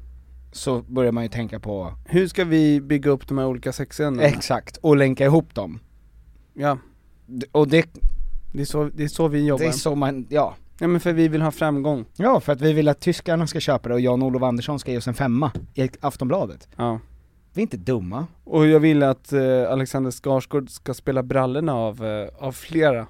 S2: så börjar man ju tänka på,
S3: Hur ska vi bygga upp de här olika sexscenerna?
S2: exakt, och länka ihop dem.
S3: Ja,
S2: D- Och det,
S3: det är så, det är så vi jobbar.
S2: det är så man, ja.
S3: Ja men för vi vill ha framgång.
S2: Ja, för att vi vill att tyskarna ska köpa det och Jan-Olof Andersson ska ge oss en femma i Aftonbladet.
S3: Ja.
S2: Vi är inte dumma.
S3: Och jag vill att eh, Alexander Skarsgård ska spela brallorna av, eh,
S2: *laughs*
S3: av flera.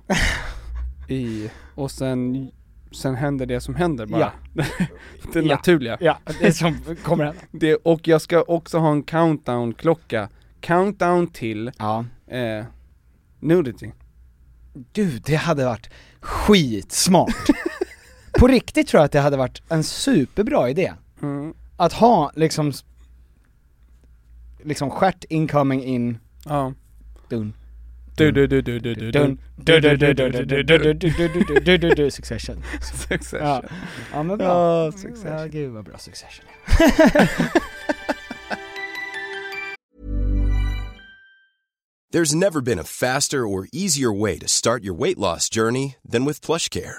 S3: I, och sen, sen händer det som händer bara.
S2: Ja.
S3: *laughs* det
S2: Ja.
S3: naturliga.
S2: Ja, det är som kommer hända.
S3: Det, och jag ska också ha en countdown-klocka. Countdown till
S2: *laughs* Ja.
S3: eh, nudity.
S2: Du, det hade varit skitsmart. på riktigt tror jag att det hade varit en superbra idé.
S3: Mm.
S2: Att ha liksom, s- liksom stjärt incoming in,
S3: Ja.
S2: dun,
S3: Du, du, du, du, du, du, du. *laughs*
S2: Dun, dun, dun, dun, dun, dun, dun, dun, dun, dun, dun, dun, dun, dun, Succession.
S3: Succession.
S2: Ja. ja men bra.
S3: Ja, Succession.
S2: Succession. Ja gud vad bra Succession är.
S6: There's never been a faster or easier way to start your weight loss journey than with PlushCare.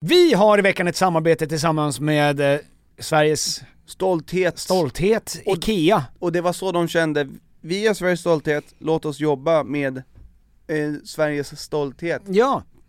S2: Vi har i veckan ett samarbete tillsammans med eh, Sveriges
S3: Stolthet.
S2: stolthet, IKEA.
S3: Och det var så de kände, vi är Sveriges stolthet, låt oss jobba med eh, Sveriges stolthet.
S2: Ja,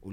S7: och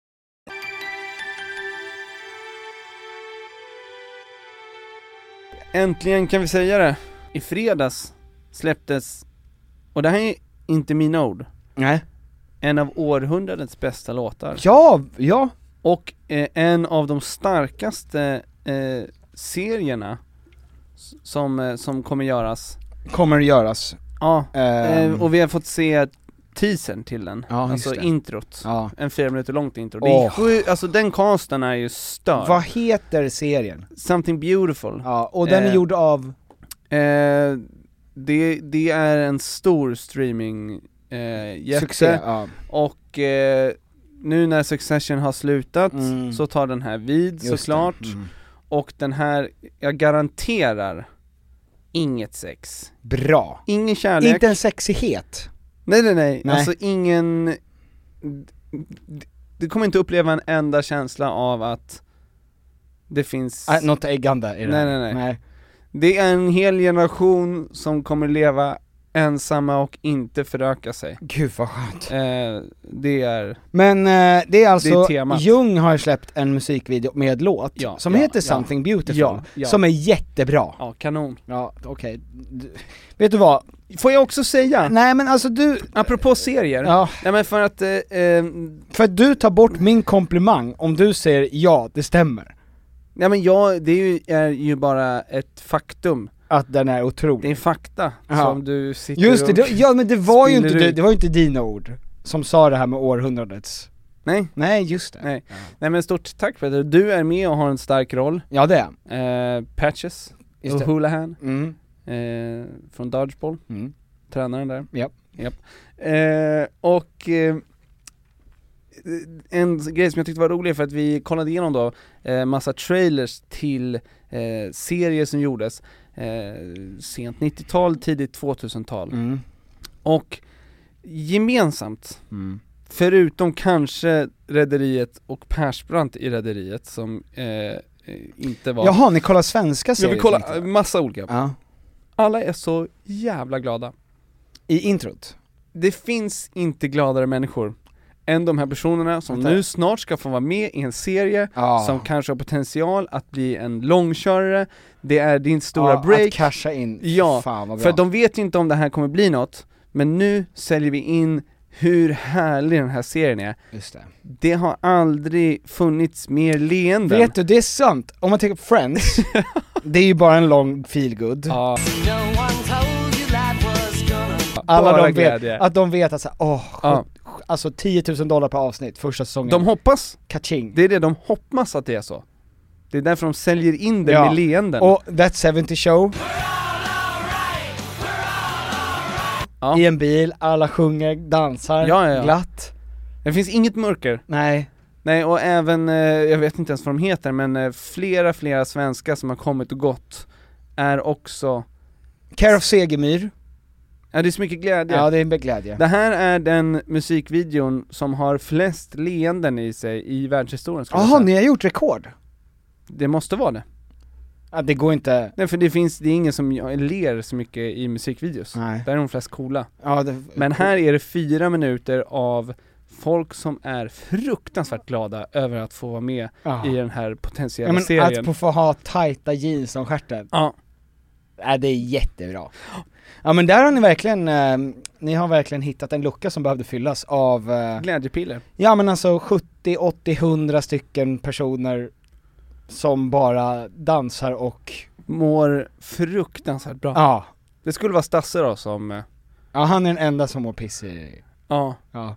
S3: Äntligen kan vi säga det! I fredags släpptes, och det här är inte mina ord,
S2: Nej.
S3: en av århundradets bästa låtar.
S7: Ja, ja!
S3: Och eh, en av de starkaste eh, serierna s- som, eh, som kommer göras.
S2: Kommer att göras.
S3: Ja,
S2: Ehm.
S3: eh, och vi har fått se teasern till den,
S2: Ja, just
S3: alltså
S2: det.
S3: introt.
S2: Ja.
S3: En fyra minuter långt intro. Det är
S2: Åh.
S3: sju, alltså den casten är ju störd.
S2: Vad heter serien?
S3: Something beautiful.
S2: Ja, och den är
S3: Eh,
S2: gjord av...
S3: Eh, det, det är en stor streaming eh, jätte.
S2: Succé, ja.
S3: och eh, nu när Succession har slutat
S2: Mm.
S3: så tar den här vid
S2: Just det,
S3: såklart
S2: mm.
S3: och den här, jag garanterar inget sex.
S7: Bra!
S3: Ingen kärlek.
S7: Inte en sexighet.
S3: Nej nej nej,
S7: Nej.
S3: alltså ingen, d- du kommer inte uppleva en enda känsla av att det finns
S2: Äh, något äggande i det
S3: Nej,
S2: här.
S3: nej, nej. Det är en hel generation som kommer leva ensamma och inte föröka *laughs* sig.
S2: Gud vad skönt.
S3: Eh, det är,
S2: Men eh, det är alltså,
S3: Det är temat.
S2: Jung har släppt en musikvideo med låt
S3: Ja,
S2: som
S3: ja,
S2: heter
S3: ja.
S2: Something Beautiful,
S3: Ja, ja.
S2: som är jättebra.
S3: ja kanon.
S2: Ja, okej. Du- Vet du vad?
S3: Får jag också säga,
S2: Nej men alltså du,
S3: apropå serier,
S2: ja,
S3: nej men för att, eh, eh,
S2: för att du tar bort min komplimang om du säger ja, det stämmer.
S3: nej men jag, det är ju, är ju bara ett faktum.
S2: Att den är otrolig.
S3: Det är fakta
S2: Ja.
S3: som du sitter
S2: Just det,
S3: och,
S2: det, ja men det var ju inte,
S3: spiller
S2: du,
S3: ut.
S2: det var ju inte dina ord som sa det här med århundradets.
S3: Nej,
S2: Nej just det.
S3: Nej. nej men stort tack Peter, du är med och har en stark roll.
S2: Ja det är
S3: Eh, Patches,
S2: Just det.
S3: O'Hoolahan,
S2: mm.
S3: eh, från Dodgeball.
S2: Mm.
S3: tränaren där.
S2: Ja.
S3: Japp. Eh, och eh, en grej som jag tyckte var rolig för att vi kollade igenom då eh, massa trailers till eh, serier som gjordes eh, sent 90-tal, tidigt 2000-tal.
S2: Mm.
S3: Och gemensamt,
S2: Mm.
S3: förutom kanske Rederiet och Persbrandt i Rederiet som eh, eh, inte var...
S2: Jaha, ni kollar svenska
S3: jag
S2: serier?
S3: vill kolla
S2: tänkte
S3: eh,
S2: jag.
S3: massa olika.
S2: Ja.
S3: Alla är så jävla glada.
S2: I introt?
S3: det finns inte gladare människor än de här personerna som
S2: Vänta.
S3: nu snart ska få vara med i en serie
S2: Ja.
S3: som kanske har potential att bli en långkörare, det är din stora
S2: ja, Att
S3: break,
S2: casha in,
S3: Ja,
S2: fan vad bra.
S3: för de vet ju inte om det här kommer bli något, men nu säljer vi in hur härlig den här serien är.
S2: Just det.
S3: Det har aldrig funnits mer leenden.
S2: Vet du, det är sant. Om man tänker på
S3: *laughs*
S2: Friends, det är ju bara en lång feel good.
S3: Ja,
S2: Alla
S3: bara
S2: de vet,
S3: glädje.
S2: att de vet att såhär, åh,
S3: Ja.
S2: sjut- alltså 10 000 dollar per avsnitt första säsongen.
S3: De hoppas,
S2: Kaching.
S3: det är det, de hoppas att det är så. Det är därför de säljer in det
S2: Ja.
S3: med leenden.
S2: Och That 70 Show.
S3: Ja.
S2: I en bil, alla sjunger, dansar,
S3: Ja, ja, ja.
S2: glatt.
S3: Det finns inget mörker.
S2: Nej.
S3: Nej, och även, eh, jag vet inte ens vad de heter, men eh, flera, flera svenskar som har kommit och gått är också,
S2: Care of Segemyhr.
S3: ja det är så mycket glädje.
S2: Ja, det är en glädje.
S3: Det här är den musikvideon som har flest leenden i sig i världshistorien skulle jag
S2: Jaha,
S3: säga.
S2: ni har gjort rekord?
S3: Det måste vara det.
S2: Ja, det går inte...
S3: Nej för det finns, det är ingen som ler så mycket i musikvideos.
S2: Nej.
S3: Där är de flest coola.
S2: Ja, det...
S3: Men här är det fyra minuter av folk som är fruktansvärt glada över att få vara med
S2: Ja.
S3: i den här potentiella
S2: Ja, men
S3: serien.
S2: att på få ha tajta jeans som stjärten,
S3: Ja,
S2: äh, det är jättebra. Ja men där har ni verkligen, eh, ni har verkligen hittat en lucka som behövde fyllas av, eh,
S3: glädjepiller.
S2: ja men alltså 70, 80, 100 stycken personer som bara dansar och,
S3: mår fruktansvärt bra.
S2: ja.
S3: Det skulle vara Stasse då som, eh,
S2: Ja han är den enda som mår piss i,
S3: ja,
S2: ja.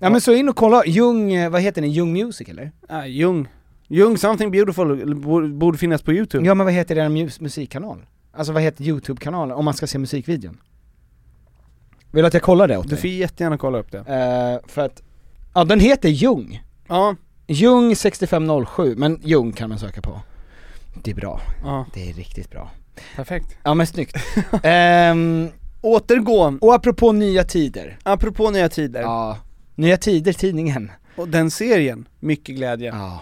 S2: Ja men så in och kolla, Jung, eh, vad heter den, Jung Music eller?
S3: äh, Jung. Jung Something Beautiful borde- borde finnas på youtube.
S2: Ja men vad heter den mus- musikkanal? Alltså vad heter youtube-kanalen, om man ska se musikvideon? Vill du att jag kollar det åt
S3: Du
S2: dig?
S3: får jättegärna kolla upp det.
S2: Eh, för att, ja den heter Jung.
S3: Ja,
S2: Jung 6507, men Jung kan man söka på. Det är bra.
S3: Ja.
S2: Det är riktigt bra. *laughs*
S3: Perfekt.
S2: Ja men snyggt. um,
S3: Återgå.
S2: Och apropå Nya Tider.
S3: Apropå Nya Tider.
S2: Ja. Nya Tider tidningen.
S3: Och den serien, mycket glädje.
S2: Ja.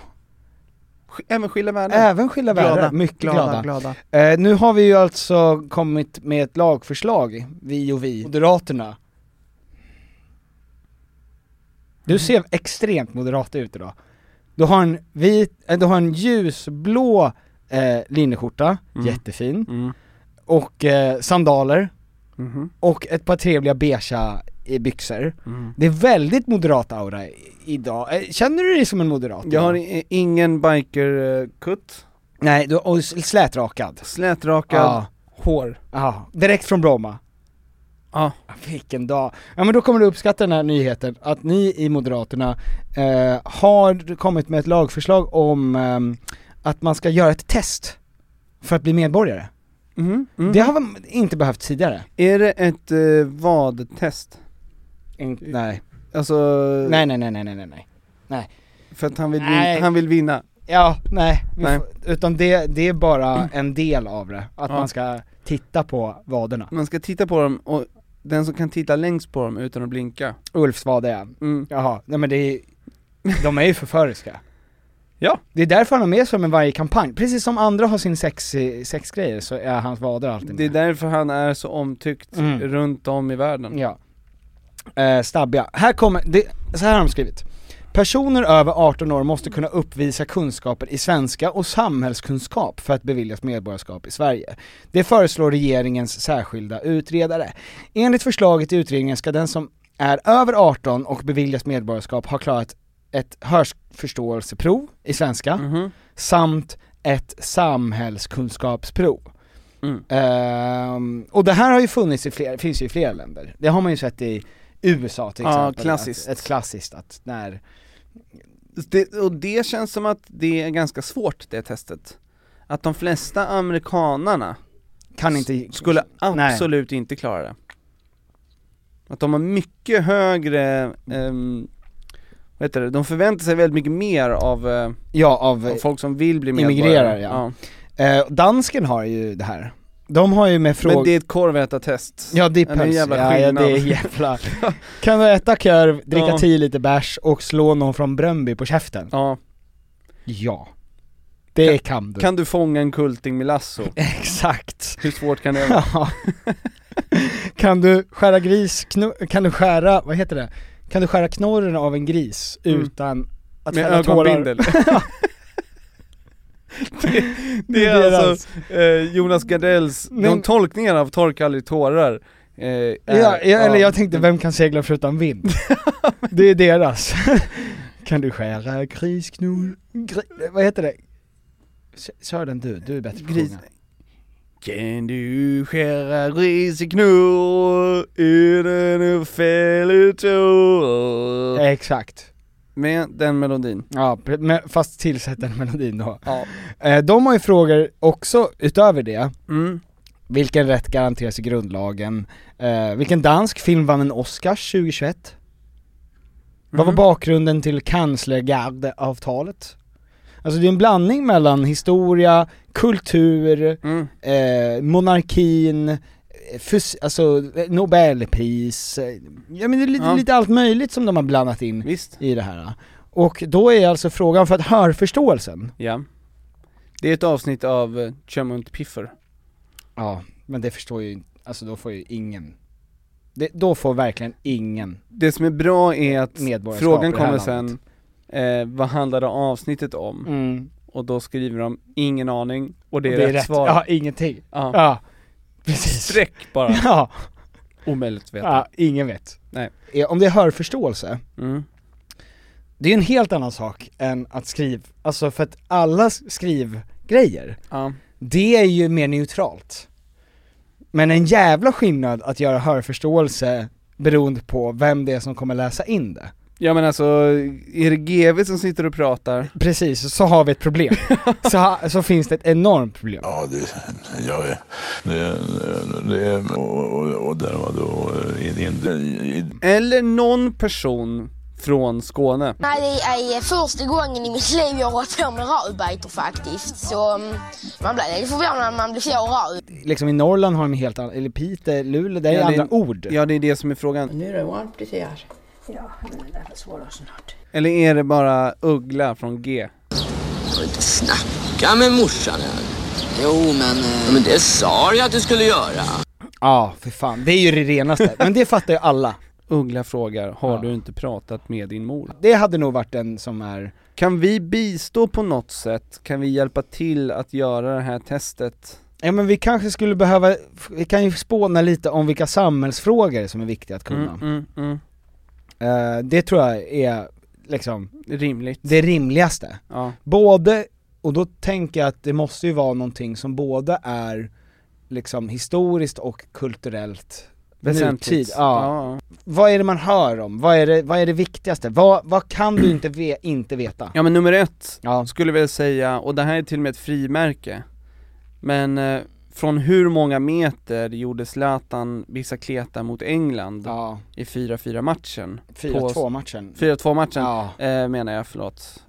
S3: Sk- Även Skilda Världar.
S2: Även skilda världar,
S3: Glada,
S2: mycket glada.
S3: glada,
S2: Eh, nu har vi ju alltså kommit med ett lagförslag, vi och vi, Moderaterna. Du ser extremt moderat ut idag. Du har en vit, eh, du har en ljusblå eh, linneskjorta,
S3: Mm.
S2: jättefin,
S3: Mm.
S2: och eh, sandaler,
S3: Mhm.
S2: och ett par trevliga beigea eh, byxor.
S3: Mm.
S2: Det är väldigt moderat aura i- idag. Eh, Känner du dig som en moderat?
S3: Jag har
S2: idag?
S3: i- ingen biker-kutt,
S2: Nej, du, och s- slätrakad.
S3: slätrakad,
S2: Ja.
S3: hår.
S2: Ja, direkt från Bromma. Ah,
S3: Ja.
S2: Vilken dag. Ja men då kommer du uppskatta den här nyheten, att ni i Moderaterna eh, har kommit med ett lagförslag om ehm, att man ska göra ett test för att bli medborgare.
S3: Mhm, mhm.
S2: Det har man inte behövt tidigare.
S3: Är det ett eh, vad-test?
S2: In- nej.
S3: Alltså,
S2: nej, nej, nej, nej, nej, nej, nej.
S3: för att han vill,
S2: Nej.
S3: vin- han vill vinna?
S2: Ja, nej. Vi
S3: Nej.
S2: Får, utan det, det är bara en del av det, att
S3: Ja.
S2: man ska titta på vaderna.
S3: Man ska titta på dem och den som kan titta längst på dem utan att blinka.
S2: Ulfs vader ja.
S3: Mm.
S2: Jaha, nej men det är, de är ju förföriska.
S3: *laughs* Ja.
S2: Det är därför han är med som en varje kampanj, precis som andra har sin sex, eh, sexgrejer så är hans vader alltid
S3: Det är
S2: med.
S3: därför han är så omtyckt
S2: Mm.
S3: runt om i världen.
S2: Ja. Eh, stabbiga. Här kommer, det, så här har de skrivit. Personer över 18 år måste kunna uppvisa kunskaper i svenska och samhällskunskap för att beviljas medborgarskap i Sverige. Det föreslår regeringens särskilda utredare. Enligt förslaget i utredningen ska den som är över 18 och beviljas medborgarskap ha klarat ett hörförståelseprov i svenska
S3: Mhm.
S2: samt ett samhällskunskapsprov.
S3: Mm.
S2: Ehm, och det här har ju funnits i flera, finns ju i flera länder. Det har man ju sett i USA till
S3: Ja,
S2: exempel.
S3: klassiskt.
S2: Att, ett klassiskt att när,
S3: Det, och det känns som att det är ganska svårt det testet. Att de flesta amerikanarna
S2: kan inte,
S3: skulle
S2: Nej.
S3: absolut inte klara det. Att de har mycket högre, ehm, vad heter det, de förväntar sig väldigt mycket mer av, eh,
S2: ja av,
S3: av folk som vill bli
S2: Immigrerar,
S3: medborgare.
S2: ja. eh, dansken har ju det här. De har ju med
S3: Men
S2: frågor,
S3: det är ett korvätartest.
S2: ja det är
S3: Ja, det är en
S2: puls,
S3: jävla
S2: ja, ja det är
S3: skillnad. *laughs*
S2: jävla, kan du äta korv, dricka
S3: Ja.
S2: tio liter bärs och slå någon från Bröndby på käften?
S3: Ja.
S2: Ja. Det kan du.
S3: Kan du fånga en kulting med lasso?
S2: *laughs* Exakt.
S3: Hur svårt kan det vara?
S2: Ja. kan du skära gris, kno- kan du skära, vad heter det? Kan du skära knorren av en gris
S3: Mm.
S2: utan att
S3: Med
S2: fälla tårar?
S3: ögonbindel.
S2: *laughs*
S3: det, det är
S2: Deras-
S3: alltså eh, Jonas Gardells,
S2: Men-
S3: de tolkningarna av Torka aldrig tårar eh, är,
S2: Ja, ja, eller jag tänkte, vem kan segla förutom
S3: *laughs*
S2: vind? det är deras. kan du skära grisknor, gri- vad heter det? S- Kör den du, du är bättre på att
S3: Gris-
S2: sjunga.
S3: Kan du skära gris i knorr utan att fälla
S2: Eh.
S3: tårar?
S2: Exakt.
S3: Med den melodin.
S2: Ja, pre- men fast tillsätt den melodin då.
S3: Ja.
S2: Eh, De har ju frågor också utöver det.
S3: Mm.
S2: Vilken rätt garanteras i grundlagen? Eh, vilken dansk film vann en Oscars 2021? Vad var
S3: Mhm.
S2: bakgrunden till kanslergardeavtalet? Alltså det är en blandning mellan historia, kultur,
S3: Mm.
S2: eh, monarkin, eh, fys- alltså eh, nobelpris, eh, ja men det är lite,
S3: Ja.
S2: lite allt möjligt som de har blandat in
S3: Visst.
S2: i det här. Och då är alltså frågan för att hörförståelsen,
S3: Ja. Det är ett avsnitt av eh, Chumont Piffer.
S2: ja men det förstår ju, alltså då får ju ingen, det, då får verkligen ingen
S3: Det som är bra är att
S2: medborgarskap i
S3: frågan
S2: det här
S3: kommer
S2: landet.
S3: sen, eh, vad handlade avsnittet om?
S2: Mm.
S3: Och då skriver de, ingen aning, och det är,
S2: Och
S3: rätt, svar.
S2: Ja, ingenting.
S3: Ja.
S2: Ja, precis.
S3: Streck bara,
S2: *laughs* Ja.
S3: omöjligt att veta.
S2: ja, ingen vet.
S3: Nej.
S2: Eh, Om det är hörförståelse,
S3: Mm.
S2: det är ju en helt annan sak än att skriv, alltså för att alla s- skrivgrejer,
S3: Ja.
S2: det är ju mer neutralt. Men en jävla skillnad att göra hörförståelse beroende på vem det är som kommer läsa in det.
S3: ja men alltså, är det GV som sitter och pratar?
S2: Precis, så har vi ett problem. så, ha, så finns det ett enormt problem.
S8: Ja, det, ja, det, det och, och, och där var då eh, in, in, i-
S3: Eller någon person från Skåne.
S9: Nej, det är första gången i mitt liv jag har på med rödbetor faktiskt. Så mm, man blir lite förvånad när man blir så röd.
S2: Liksom i Norrland har de helt andra, eller Piteå, Luleå, det är
S3: Ja, det-
S2: andra ord.
S3: Ja, det är det som är frågan.
S10: Nu är det varmt ute här. Ja, men det är svårare snart.
S3: Eller är det bara Uggla från G?
S11: Snacka med morsan här. Jo, men... eh, Men det sa jag att du skulle göra.
S2: Ja, för fan. Det är ju det renaste. Men det fattar ju alla.
S3: Uggla frågar, har du inte pratat med din mor?
S2: Det hade nog varit en som är...
S3: Kan vi bistå på något sätt? Kan vi hjälpa till att göra det här testet?
S2: Ja men vi kanske skulle behöva, vi kan ju spåna lite om vilka samhällsfrågor som är viktiga att kunna.
S3: mm.
S2: Eh, det tror jag är liksom
S3: Rimligt.
S2: det rimligaste.
S3: Ja.
S2: Både, och då tänker jag att det måste ju vara någonting som både är liksom historiskt och kulturellt
S3: Väsentligt.
S2: nutid. Ja.
S3: Ja.
S2: Vad är det man hör om? Vad är det, vad är det viktigaste? Vad, vad kan du inte, ve- inte veta?
S3: Ja men nummer ett, skulle jag vilja säga, och det här är till och med ett frimärke Men eh, från hur många meter gjorde Zlatan bicicleta mot England i 4-4 matchen?
S2: 4-2 matchen.
S3: 4-2 matchen, eh, menar jag, förlåt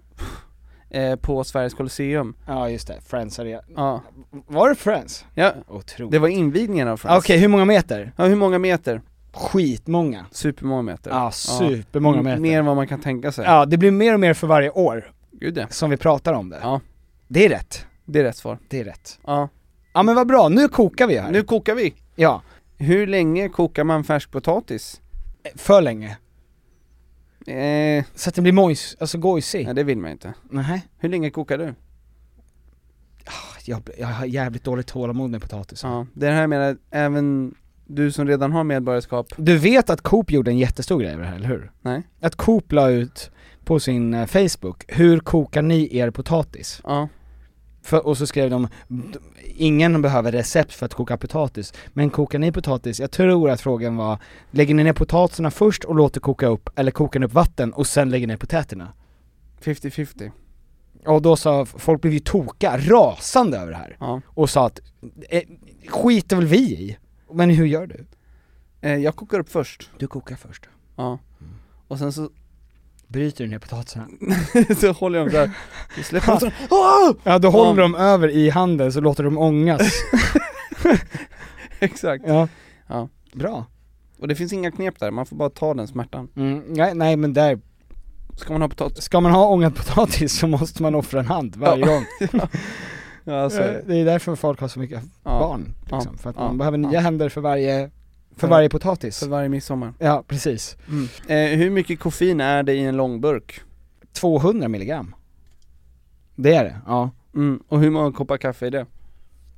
S3: eh, På Sveriges Colosseum
S2: Ja just det, Friends Arena.
S3: Ja.
S2: Var det Friends?
S3: Ja,
S2: Otroligt.
S3: det var invigningen av Friends
S2: Okej, hur många meter?
S3: Ja hur många meter?
S2: Skitmånga
S3: Supermånga meter
S2: Ja, supermånga
S3: M-
S2: meter.
S3: Mer än vad man kan tänka sig
S2: Ja, det blir mer och mer för varje år
S3: Gud ja.
S2: som vi pratar om det.
S3: Ja.
S2: Det är rätt.
S3: Det är rätt svar
S2: Det är rätt.
S3: Ja
S2: Ja men vad bra, nu kokar vi här.
S3: Nu kokar vi!
S2: Ja
S3: Hur länge kokar man färskpotatis?
S2: För länge.
S3: Eh,
S2: Så att den blir mojs, alltså gojsig.
S3: Nej det vill man inte.
S2: Nej.
S3: Hur länge kokar du?
S2: Jag, jag har jävligt dåligt tålamod med potatis.
S3: Ja, det är det här med att även du som redan har medborgarskap
S2: Du vet att Coop gjorde en jättestor grej av det här, eller hur?
S3: Nej.
S2: Att Coop la ut på sin eh, Facebook, hur kokar ni er potatis?
S3: Ja.
S2: För, och så skrev de, "D- ingen behöver recept för att koka potatis, men kokar ni potatis? Jag tror att frågan var, lägger ni ner potatisarna först och låter koka upp, eller kokar ni upp vatten och sen lägger ner potäterna?
S3: 50-50
S2: Och då sa, folk blev ju toka, rasande över det här.
S3: Ja.
S2: Och sa att, eh, skiter väl vi i? Men hur gör du?
S3: eh, Jag kokar upp först
S2: Du kokar först. Mm.
S3: Ja Och sen så *laughs*
S2: Bryter du ner potatisarna?
S3: så håller jag dem där, så släpper jag
S2: Ja.
S3: dem så- Ah!
S2: Ja, då håller
S3: Ja,
S2: de över i handen så låter de
S3: *laughs*
S2: ångas.
S3: *laughs* Exakt
S2: Ja.
S3: ja
S2: Bra.
S3: Och det finns inga knep där, man får bara ta den smärtan
S2: Mm, nej, nej men där,
S3: Ska man ha potatis?
S2: ska man ha ångad potatis så måste man offra en hand varje
S3: Ja.
S2: gång.
S3: Ja, *laughs* så är
S2: Eh,
S3: det.
S2: Det är därför folk har så mycket
S3: Ja.
S2: barn liksom,
S3: Ja.
S2: för att
S3: Ja.
S2: man behöver nya
S3: Ja.
S2: händer för varje, för, varje potatis.
S3: För varje midsommar
S2: Ja, precis.
S3: mm. eh, Hur mycket koffein är det i en långburk?
S2: 200 milligram. Det är det, ja.
S3: Mm. Och hur många koppar kaffe är det?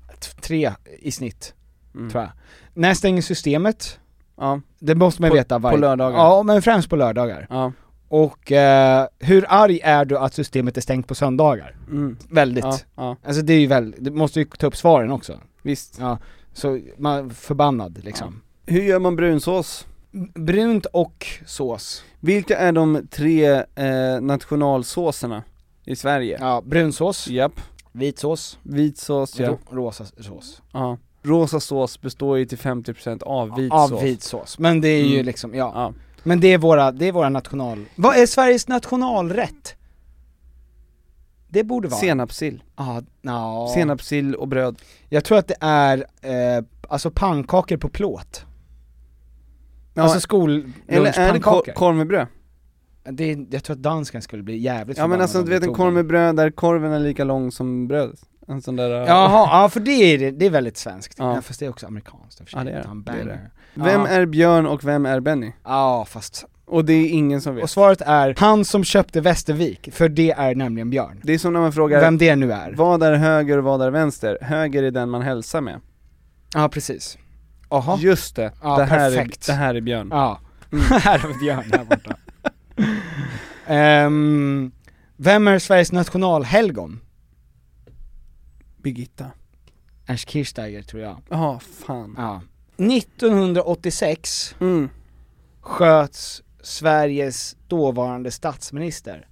S2: T- Tre i snitt,
S3: Mm.
S2: tror jag. När stänger systemet?
S3: Ja,
S2: Det måste man
S3: På-
S2: veta varje...
S3: på lördagar.
S2: Ja, men främst på lördagar.
S3: ja,
S2: Och eh, hur arg är du att systemet är stängt på söndagar?
S3: mm.
S2: Väldigt.
S3: Ja, ja,
S2: Alltså det är ju väl, du måste ju ta upp svaren också.
S3: visst
S2: Ja, så man förbannad liksom.
S3: Hur gör man brunsås?
S2: Brunt och sås.
S3: Vilka är de tre eh, nationalsåserna i Sverige?
S2: Ja, brunsås,
S3: Japp,
S2: vit sås,
S3: vit sås ja.
S2: rå- rosa sås.
S3: ja. Rosa sås består ju till 50% av vit
S2: Av
S3: sås.
S2: vit sås. Men det är ju
S3: Mm.
S2: liksom, ja.
S3: Ja.
S2: Men det är våra, det är våra national... Vad är Sveriges nationalrätt? Det borde vara...
S3: Senapssill.
S2: Ja, no.
S3: Senapssill och bröd.
S2: Jag tror att det är, eh, alltså pannkakor på plåt.
S3: Ja,
S2: alltså skol...
S3: eller är det kor- korv med bröd?
S2: det, jag tror att dansken skulle bli jävligt
S3: Ja men
S2: förbannad
S3: alltså
S2: om
S3: du
S2: vi
S3: vet en
S2: tog
S3: korv
S2: den.
S3: med bröd där korven är lika lång som brödet. En sån där... eh,
S2: Jaha, ja för det är, det är väldigt svenskt.
S3: Ja.
S2: Ja. fast det är också amerikanskt i och för sig.
S3: Ja, det är det.
S2: Utan
S3: Det är det.
S2: banger.
S3: Vem
S2: Ja.
S3: är Björn och vem är Benny?
S2: Ja fast,
S3: Och det är ingen som
S2: och
S3: vet.
S2: svaret är han som köpte Västervik, för det är nämligen Björn.
S3: Det är som när man frågar,
S2: Vem det nu är.
S3: vad är höger och vad är vänster? Höger är den man hälsar med.
S2: Ja precis. Jaha.
S3: Just det,
S2: Ja,
S3: det, här är,
S2: perfekt.
S3: det här är Björn.
S2: Ja.
S3: Mm.
S2: *laughs* här har vi Björn här borta. Ehm, vem är Sveriges nationalhelgon?
S3: Birgitta.
S2: Ernst Kirchsteiger tror jag.
S3: Ja, fan.
S2: Ja. 1986
S3: Mm.
S2: sköts Sveriges dåvarande statsminister.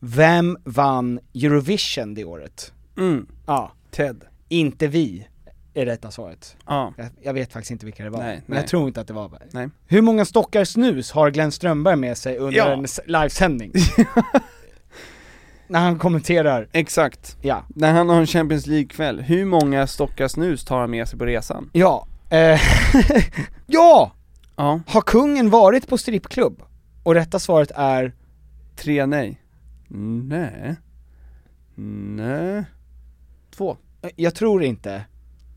S2: Vem vann Eurovision det året?
S3: Mm.
S2: Ja,
S3: Ted.
S2: inte vi. är rätta svaret.
S3: Ja.
S2: Jag, jag vet faktiskt inte vilka det var,
S3: Nej,
S2: men
S3: nej.
S2: jag tror inte att det var
S3: Nej.
S2: Hur många stockar snus har Glenn Strömberg med sig under
S3: Ja.
S2: en s-
S3: *laughs*
S2: livesändning? När han kommenterar.
S3: Exakt.
S2: Ja.
S3: När han har en Champions League-kväll, hur många stockar snus tar han med sig på resan?
S2: Ja, eh, *laughs* ja!
S3: Ja.
S2: Har kungen varit på strippklubb? Och rätta svaret är
S3: Tre nej. Nej. Nej.
S2: Två. eh, Jag tror inte.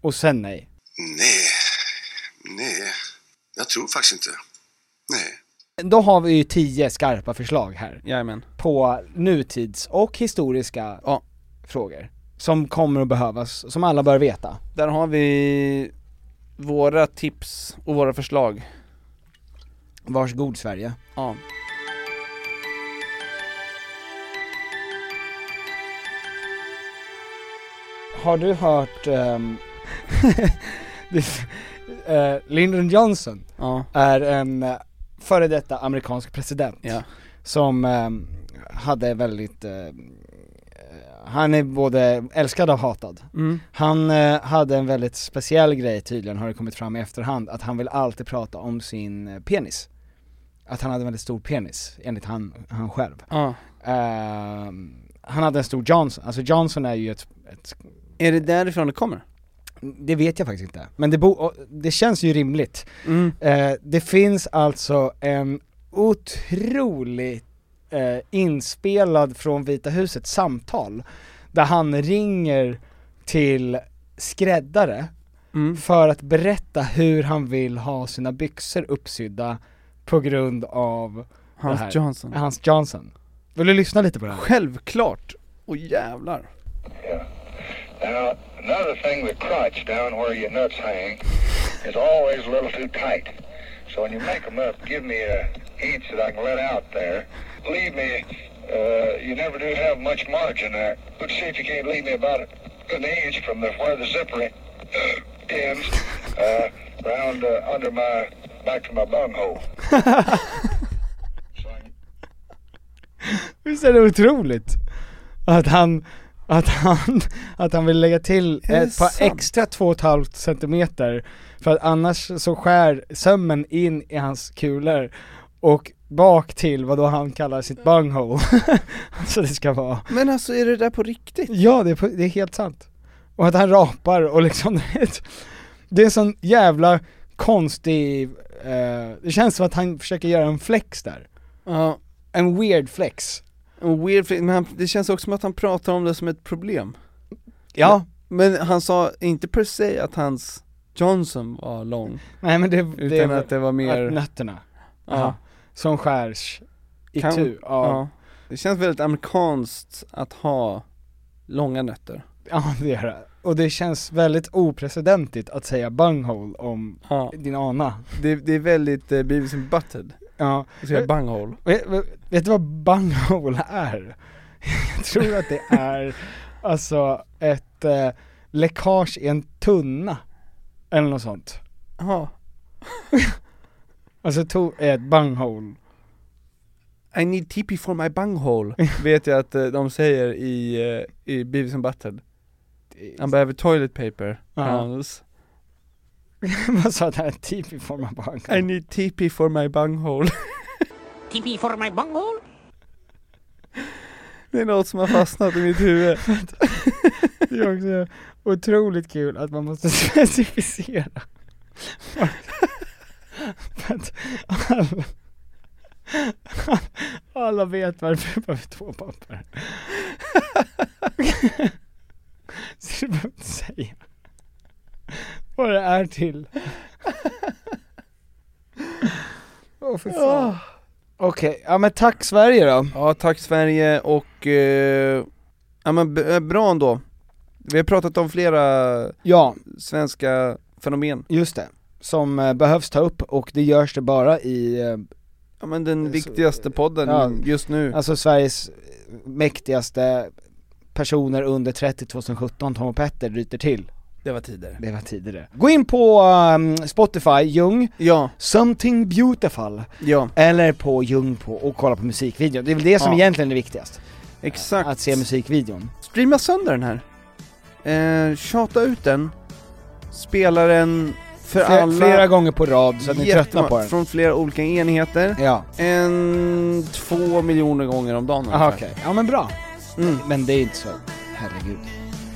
S2: Och sen nej.
S12: Nej, nej. Jag tror faktiskt inte. Nej.
S2: Då har vi ju tio skarpa förslag här.
S3: Jajamän.
S2: På nutids och historiska frågor. Som kommer att behövas, som alla bör veta.
S3: Där har vi våra tips och våra förslag.
S2: Varsågod Sverige.
S3: Ja.
S2: Har du hört ehm, *laughs* det- eh, Lyndon Johnson
S3: Ja.
S2: är en eh, före detta amerikansk president
S3: Ja.
S2: som ehm, hade väldigt, eh, han är både älskad och hatad.
S3: Mm.
S2: Han eh, hade en väldigt speciell grej tydligen, har det kommit fram i efterhand, att han vill alltid prata om sin eh, penis. Att han hade en väldigt stor penis, enligt han, han själv.
S3: Ja.
S2: Ehm, han hade en stor Johnson, alltså Johnson är ju ett, ett
S3: Är det därifrån det kommer?
S2: Det vet jag faktiskt inte, men det, bo, och det känns ju rimligt.
S3: Mm.
S2: Eh, det finns alltså en otroligt eh, inspelad från Vita huset samtal, där han ringer till skräddare
S3: Mm.
S2: för att berätta hur han vill ha sina byxor uppsydda på grund av
S3: Hans
S2: det här.
S3: Johnson.
S2: Hans Johnson. Vill du lyssna lite på det här?
S3: Självklart! Och jävlar.
S13: Now, another thing, the crotch down where your nuts hang is always a little too tight. So when you make 'em up, give me a inch that I can let out there. Leave me, uh, you never do have much margin there. But see if you can't leave me about an inch from the, where the zipper *gasps* ends, uh, round uh, under my, back to my bunghole.
S2: Visst är det otroligt? Att han, att han, att han vill lägga till
S7: Är det
S2: ett par
S7: sant?
S2: extra 2,5 centimeter För att annars så skär sömmen in i hans kulor och bak till vad då han kallar sitt bunghole *laughs* Så det ska vara
S3: Men alltså är det där på riktigt?
S2: Ja det är, på- det är helt sant Och att han rapar och liksom *laughs* Det är en sån jävla konstig, eh, det känns som att han försöker göra en flex där
S3: Ja.
S2: En weird flex.
S3: En weird flex, men han, det känns också som att han pratar om det som ett problem.
S2: Ja.
S3: Men, men han sa inte per se att hans Johnson var lång.
S2: Nej men det,
S3: Utan
S2: det
S3: att det var mer...
S2: att nötterna.
S3: Ja.
S2: Ja. Som skärs i
S3: Kan-
S2: tu av,
S3: Det känns väldigt amerikanskt att ha långa nötter.
S2: ja det gör det. Och det känns väldigt oprecedentigt att säga bunghole om
S3: Ja.
S2: din ana.
S3: Det, det är väldigt eh, Beavis and Butthead.
S2: Ja.
S3: Så jag bunghole.
S2: Vet, vet- vet du vad bunghole är? *laughs* Jag tror att det är alltså ett eh, läckage i en tunna. Eller något sånt.
S3: Ja.
S2: Alltså to- ett bunghole. *laughs*
S3: I need TP for my *laughs* bunghole, vet jag att eh, de säger i, eh, i Beavis and Butthead. Han behöver toilet paper.
S2: Ja.
S3: Hans.
S2: Vad sa det här? Typ i form av bunghole.
S3: I need TP for my bunghole. *laughs*
S14: TP for my bunghole?
S3: det är något som har fastnat i mitt *laughs* huvud.
S2: Det är också otroligt kul att man måste *laughs* specificera. För att alla, alla vet varför vi behöver två papper. Så du behöver inte säga vad det är till. Åh för fan. Okej, ja men tack Sverige då.
S3: Ah. Ja, tack Sverige och, eh, ja men b- eh, bra ändå. Vi har pratat om flera
S2: Ja.
S3: svenska fenomen.
S2: Just det. Som eh, behövs ta upp och det görs det bara i eh,
S3: Ja men den viktigaste podden
S2: ja.
S3: just nu.
S2: Alltså Sveriges mäktigaste personer under 30 2017, Tom och Petter, ryter till.
S3: Det var tider.
S2: Det var tidigare. Gå in på ehm, Spotify, Jung,
S3: ja.
S2: Something Beautiful,
S3: ja.
S2: eller på Jung på, och kolla på musikvideon. Det är väl det som
S3: Ja.
S2: egentligen är viktigast.
S3: Exakt.
S2: Att se musikvideon.
S3: Streama sönder den här. Eh, tjata ut den. spelar den för
S2: Fler-
S3: alla...
S2: flera gånger på rad, så att ni
S3: Jättemånga-
S2: tröttnar på den.
S3: Från flera olika enheter.
S2: Ja.
S3: En... två miljoner gånger om dagen
S2: Aha,
S3: ungefär.
S2: okej. Ja men bra. Mm.
S3: Mm.
S2: Men det är inte så, herregud.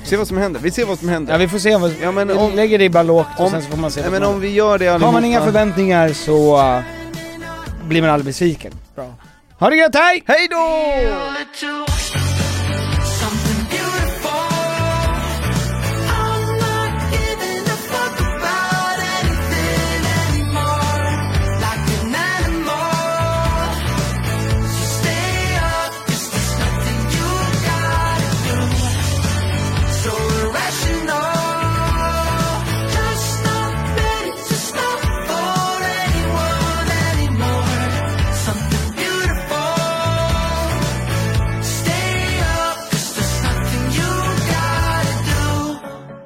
S3: Se vad som händer, vi ser vad som händer.
S2: Ja vi får se vad,
S3: ja, men
S2: vi
S3: om,
S2: lägger det i bara lågt och
S3: om-
S2: sen så får man se
S3: nej,
S2: vad
S3: men
S2: som
S3: om vi gör det
S2: händer. Har man
S3: allihopa-
S2: inga förväntningar så eh, blir man aldrig besviken.
S3: Bra.
S2: Ha det gött, hej!
S3: Hej då!
S15: Something beautiful Stay up, 'cause there's nothing you gotta do.